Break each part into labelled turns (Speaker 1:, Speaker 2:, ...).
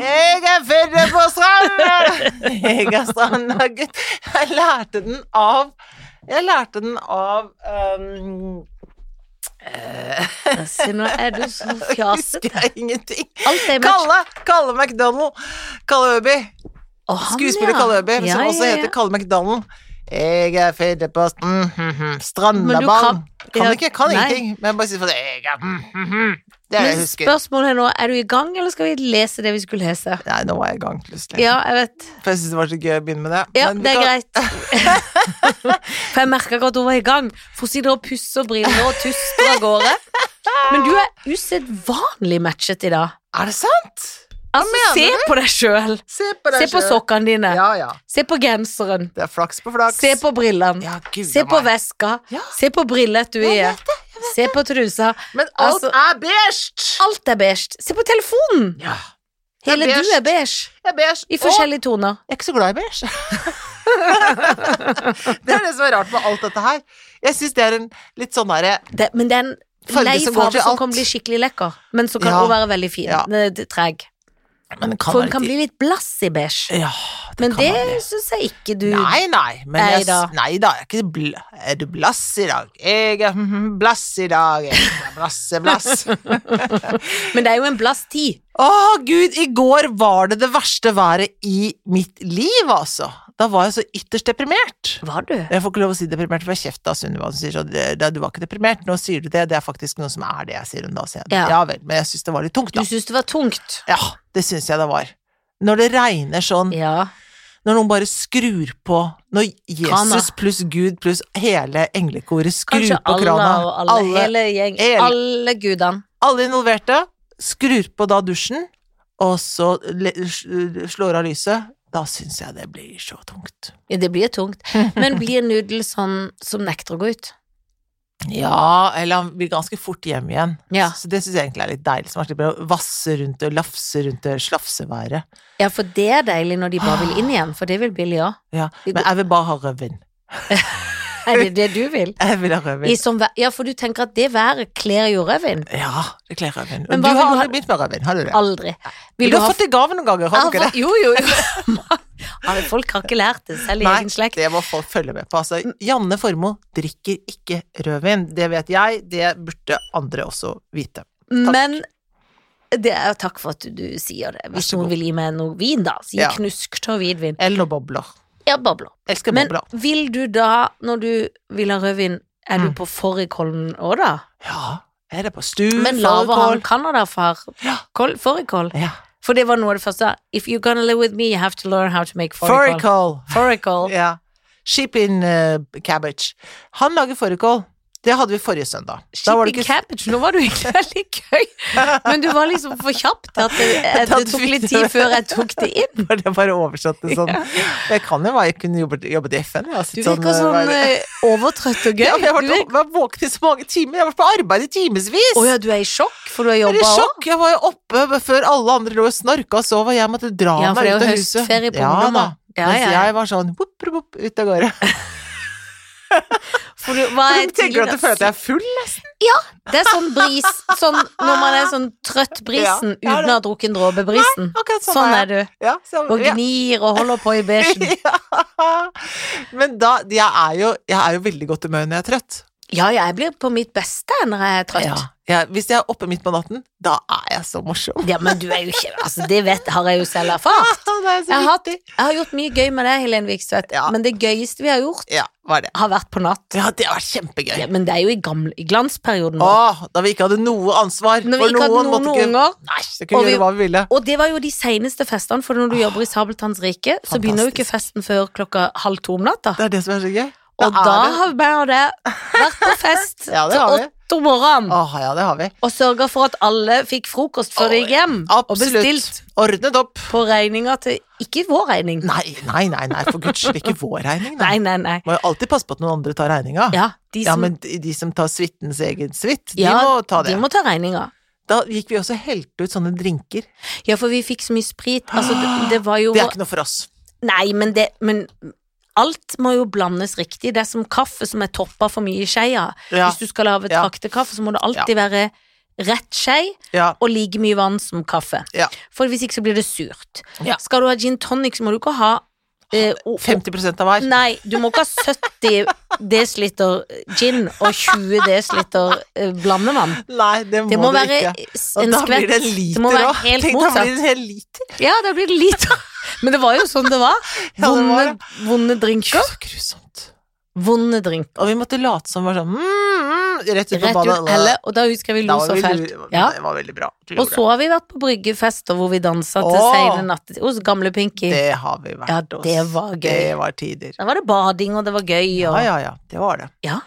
Speaker 1: Jeg er født på stranda! Jeg er strandagutt. Jeg lærte den av Jeg lærte den av um,
Speaker 2: Se, nå er du så
Speaker 1: Husker
Speaker 2: fjasete.
Speaker 1: jeg ingenting.
Speaker 2: Alt er match.
Speaker 1: Kalle! Kalle McDonald. Kalle Øby.
Speaker 2: Å, han,
Speaker 1: Skuespiller
Speaker 2: ja.
Speaker 1: Kalle Øby,
Speaker 2: Ja,
Speaker 1: som også
Speaker 2: ja, ja.
Speaker 1: heter Kalle McDonald. Jeg er født på mm, mm, mm, Strandabarn. Kan,
Speaker 2: Men du kan- ja,
Speaker 1: ikke, kan
Speaker 2: nei.
Speaker 1: ingenting. Men bare si for det. Jeg er mm, mm, mm. Det er det jeg
Speaker 2: Men
Speaker 1: husker.
Speaker 2: spørsmålet er nå, er du i gang, eller skal vi lese det vi skulle lese?
Speaker 1: Nei, nå var jeg i gang, plutselig.
Speaker 2: Ja, jeg vet.
Speaker 1: For jeg syns det var så gøy å begynne med det.
Speaker 2: Ja,
Speaker 1: Men vi
Speaker 2: det er
Speaker 1: kan-
Speaker 2: greit. For jeg merka godt hun var i gang. For hun sitter og pusser briller og tuster av gårde. Men du er usedvanlig matchet i dag.
Speaker 1: Er det sant?
Speaker 2: Altså,
Speaker 1: mener
Speaker 2: se på deg sjøl.
Speaker 1: Se på
Speaker 2: Se på
Speaker 1: selv.
Speaker 2: sokkene dine.
Speaker 1: Ja, ja.
Speaker 2: Se på genseren.
Speaker 1: Det er flaks på flaks.
Speaker 2: Se på brillene.
Speaker 1: ja, Gud,
Speaker 2: Se
Speaker 1: av
Speaker 2: på
Speaker 1: meg.
Speaker 2: veska.
Speaker 1: Ja.
Speaker 2: Se på brilletuiet. Se på trusa.
Speaker 1: Men alt
Speaker 2: Altså-
Speaker 1: er beige!
Speaker 2: Alt er beige. Se på telefonen!
Speaker 1: Ja. Det er
Speaker 2: Hele du
Speaker 1: beige.
Speaker 2: er beige.
Speaker 1: Det er beige.
Speaker 2: I forskjellige toner.
Speaker 1: Jeg er ikke så glad i beige. det er det som er rart med alt dette her. Jeg syns det er en litt sånn derre
Speaker 2: Det, men det er en
Speaker 1: Farge
Speaker 2: lei
Speaker 1: som går
Speaker 2: farge
Speaker 1: til
Speaker 2: som
Speaker 1: alt.
Speaker 2: kan bli skikkelig lekker. Men så kan
Speaker 1: Ja.
Speaker 2: hun være veldig fin.
Speaker 1: Ja.
Speaker 2: Ne- d- Treg.
Speaker 1: Men det kan
Speaker 2: For hun
Speaker 1: være
Speaker 2: kan
Speaker 1: litt
Speaker 2: bli litt blass i beige.
Speaker 1: Ja,
Speaker 2: Men
Speaker 1: kan være
Speaker 2: det syns jeg ikke du
Speaker 1: Nei, nei. Men
Speaker 2: Nei
Speaker 1: jeg,
Speaker 2: da.
Speaker 1: s- nei da, jeg er ikke bl Er du blass i dag? Jeg er mhm, blass i dag. Jeg er Blasse, blass.
Speaker 2: Men det er jo en blass tid.
Speaker 1: Å, gud, i går var det det verste været i mitt liv, altså. Da var jeg så ytterst deprimert.
Speaker 2: Var du?
Speaker 1: Jeg får ikke lov å si deprimert, for jeg kjefter av Sunniva som sier sånn «Det- det- Du var ikke deprimert, nå sier du det. Det er faktisk noen som er det, jeg sier hun da. Sier jeg.
Speaker 2: Ja.
Speaker 1: Ja. vel, men jeg syns det var litt tungt,
Speaker 2: Du
Speaker 1: da.
Speaker 2: syns det var tungt.
Speaker 1: Ja, det syns jeg det var. Når det regner sånn,
Speaker 2: Ja.
Speaker 1: når noen bare skrur på Når Jesus
Speaker 2: Krana.
Speaker 1: pluss Gud pluss hele englekoret skrur
Speaker 2: Kanskje
Speaker 1: på
Speaker 2: alle og
Speaker 1: krana.
Speaker 2: alle. hele gjeng.
Speaker 1: hele-
Speaker 2: Alle gudene.
Speaker 1: alle involverte skrur på da dusjen, og så le- sl- slår av lyset. Da syns jeg det blir så tungt.
Speaker 2: Ja, det blir tungt. Men blir Nudel sånn som nekter å gå ut?
Speaker 1: Ja, eller han vil ganske fort hjem igjen.
Speaker 2: Ja.
Speaker 1: Så det syns jeg egentlig er litt deilig, så man slipper å vasse rundt og lafse rundt og slafseværet.
Speaker 2: Ja, for det er deilig når de bare vil inn igjen, for det vil Billy òg.
Speaker 1: Ja. Men jeg vil bare ha rødvin.
Speaker 2: Er det det du vil?
Speaker 1: Jeg vil ha
Speaker 2: I
Speaker 1: rødvin.
Speaker 2: sånn vær, ja, for du tenker at det været kler jo rødvin.
Speaker 1: Ja, det kler rødvin.
Speaker 2: Men
Speaker 1: Og
Speaker 2: hva
Speaker 1: du har
Speaker 2: vil du ha-
Speaker 1: aldri begynt med rødvin, har du det?
Speaker 2: Aldri.
Speaker 1: Du har fått det i gave noen ganger, har du ikke det?
Speaker 2: Ah, Jo, jo, jo. Alle folk har ikke lært det, selv i
Speaker 1: Nei,
Speaker 2: egen slekt.
Speaker 1: det må folk følge med på. Altså, Janne Formoe drikker ikke rødvin. Det vet jeg, det burde andre også vite.
Speaker 2: Men det er takk for at du sier det. Hvis
Speaker 1: så
Speaker 2: noen
Speaker 1: god.
Speaker 2: vil gi meg noe vin, da, så gi
Speaker 1: Ja.
Speaker 2: knusk til hvitvin.
Speaker 1: Eller noen bobler.
Speaker 2: Ja, bobler.
Speaker 1: Elsker
Speaker 2: Men
Speaker 1: bobler.
Speaker 2: vil du da, når du vil ha rødvin, er du
Speaker 1: Mm.
Speaker 2: på Fårikålen òg, da?
Speaker 1: Ja, er det på stu,
Speaker 2: Men lager han
Speaker 1: Mm, fårikål?
Speaker 2: Canada-far?
Speaker 1: Ja.
Speaker 2: Kål- Fårikål?
Speaker 1: Ja.
Speaker 2: For det var noe av det første. If you're gonna live with me, you have to learn how to make fårikål.
Speaker 1: Fårikål.
Speaker 2: Fårikål.
Speaker 1: Ja. Sheep in eh, cabbage. Han lager fårikål. Det hadde vi forrige søndag. Da var det
Speaker 2: Shipping
Speaker 1: ikke
Speaker 2: cabbage, nå var du egentlig veldig gøy, men du var liksom for kjapp til at det, at
Speaker 1: Da
Speaker 2: det tok litt tid før jeg tok det inn.
Speaker 1: var det bare oversatt til sånn. Jeg kan jo være, jeg kunne jobbet, jobbet i FN. Ja.
Speaker 2: Du virker sånn eh, overtrøtt og gøy.
Speaker 1: altså, ja, men Jeg har
Speaker 2: Du
Speaker 1: vært-
Speaker 2: virker-
Speaker 1: vært våken i så mange timer. Jeg har vært på arbeid i timevis.
Speaker 2: Å ja, du er i sjokk, for du har
Speaker 1: Jeg er i
Speaker 2: jobba òg?
Speaker 1: sjokk. Jeg var jo oppe før alle andre lå og snorka og sov, og jeg måtte dra
Speaker 2: Ja, for
Speaker 1: meg
Speaker 2: det
Speaker 1: ut
Speaker 2: er
Speaker 1: av
Speaker 2: jo
Speaker 1: huset.
Speaker 2: høstferie på
Speaker 1: ja, da.
Speaker 2: ungdommer. Ja,
Speaker 1: Mens
Speaker 2: ja.
Speaker 1: jeg var sånn whoop, whoop, whoop, ut av gårde.
Speaker 2: For du, hva er
Speaker 1: Jeg tenker at du føler at jeg
Speaker 2: tidligere?
Speaker 1: er full.
Speaker 2: Det er sånn bris, sånn når man er sånn trøtt-brisen
Speaker 1: Ja, ja,
Speaker 2: uten
Speaker 1: det-
Speaker 2: å ha drukket en dråpe brisen.
Speaker 1: Akkurat sånn,
Speaker 2: Sånn
Speaker 1: er
Speaker 2: er
Speaker 1: jeg.
Speaker 2: du.
Speaker 1: Ja, så,
Speaker 2: Og
Speaker 1: ja.
Speaker 2: gnir og holder på i beigen.
Speaker 1: Ja. Men da Jeg er jo, jeg er jo veldig godt humør når jeg er trøtt.
Speaker 2: Ja, ja, jeg blir på mitt beste når jeg er trøtt.
Speaker 1: Jeg- hvis jeg er oppe midt på natten, da er jeg så morsom.
Speaker 2: Ja, men du er jo ikke Altså, det vet, har jeg jo selv erfart.
Speaker 1: det er så
Speaker 2: Jeg har, hatt-
Speaker 1: viktig.
Speaker 2: jeg har gjort mye gøy med deg, Helen Vikstvedt,
Speaker 1: Ja.
Speaker 2: men det gøyeste vi har gjort,
Speaker 1: Ja, var det.
Speaker 2: har vært på natt.
Speaker 1: Ja, det har vært kjempegøy.
Speaker 2: Ja, men det er jo i, gamle, i glansperioden vår.
Speaker 1: Åh, da vi ikke hadde noe ansvar.
Speaker 2: Når vi
Speaker 1: for
Speaker 2: ikke hadde noen
Speaker 1: måtte ikke-
Speaker 2: unger,
Speaker 1: Nei, så kunne
Speaker 2: og
Speaker 1: vi
Speaker 2: vi-
Speaker 1: gjøre hva vi ville.
Speaker 2: Og det var jo de seneste festene, for når du jobber i Sabeltanns rike, så
Speaker 1: fantastisk.
Speaker 2: begynner jo ikke festen før klokka halv to om natta.
Speaker 1: Det er det som er så gøy. Det
Speaker 2: Og
Speaker 1: er
Speaker 2: da
Speaker 1: det.
Speaker 2: har vi og det vært på fest
Speaker 1: Ja, det
Speaker 2: til
Speaker 1: har vi.
Speaker 2: åtte om morgenen,
Speaker 1: Åh, ja, det har vi.
Speaker 2: og sørga for at alle fikk frokost før de gikk hjem. Og
Speaker 1: Absolutt.
Speaker 2: bestilt
Speaker 1: Ordnet opp.
Speaker 2: på regninga til Ikke vår regning.
Speaker 1: Nei, nei, nei, nei, for guds skyld, ikke vår regning. da.
Speaker 2: Nei, nei, nei.
Speaker 1: Må jo alltid passe på at noen andre tar regninga.
Speaker 2: Ja, de
Speaker 1: Ja,
Speaker 2: som
Speaker 1: men de, de som tar suitens egen suite, de
Speaker 2: Ja,
Speaker 1: må ta det.
Speaker 2: de må ta regninga.
Speaker 1: Da gikk vi også og helte ut sånne drinker.
Speaker 2: Ja, for vi fikk så mye sprit. Altså, det, det var jo
Speaker 1: Det er ikke noe for oss.
Speaker 2: Nei, men det Men alt må jo blandes riktig. Det er som kaffe som er toppa for mye i skeia.
Speaker 1: Ja.
Speaker 2: Hvis du skal lage
Speaker 1: Ja.
Speaker 2: traktekaffe, så må det alltid være rett skje
Speaker 1: Ja.
Speaker 2: og like mye vann som kaffe.
Speaker 1: Ja.
Speaker 2: For hvis ikke så blir det surt.
Speaker 1: Ja.
Speaker 2: Skal du ha gin tonic, så må du ikke ha eh, o- o-
Speaker 1: 50 av hver.
Speaker 2: Nei, du må ikke ha 70 dl gin og 20 dl blandevann.
Speaker 1: Nei, det må,
Speaker 2: Det må
Speaker 1: det
Speaker 2: være
Speaker 1: ikke. Og
Speaker 2: en
Speaker 1: da blir
Speaker 2: skvett.
Speaker 1: det en
Speaker 2: Det må
Speaker 1: liter
Speaker 2: være
Speaker 1: òg.
Speaker 2: helt
Speaker 1: Tenk, da
Speaker 2: motsatt.
Speaker 1: blir det en hel liter.
Speaker 2: Ja, da blir det lite. Men det var jo sånn det var.
Speaker 1: Ja, det var
Speaker 2: Vonde, vonde drinker.
Speaker 1: Så grusomt.
Speaker 2: Vonde drink.
Speaker 1: Og vi måtte late som var sånn mm, mm, Rett ut på
Speaker 2: Rett
Speaker 1: badet.
Speaker 2: ut helle, og da husker jeg vi
Speaker 1: Da
Speaker 2: lo
Speaker 1: var
Speaker 2: så
Speaker 1: vi-
Speaker 2: fælt. Ja.
Speaker 1: Det var veldig bra. at vi
Speaker 2: Og
Speaker 1: gjorde
Speaker 2: så har vi vært på bryggefester hvor vi dansa til
Speaker 1: Åh.
Speaker 2: seine natter hos gamle Pinky.
Speaker 1: det. det har vi vært
Speaker 2: Ja, det var
Speaker 1: oss.
Speaker 2: gøy.
Speaker 1: Det var tider.
Speaker 2: Da var det bading, og det var gøy.
Speaker 1: Ja,
Speaker 2: Og...
Speaker 1: ja, ja. Det var det.
Speaker 2: Ja.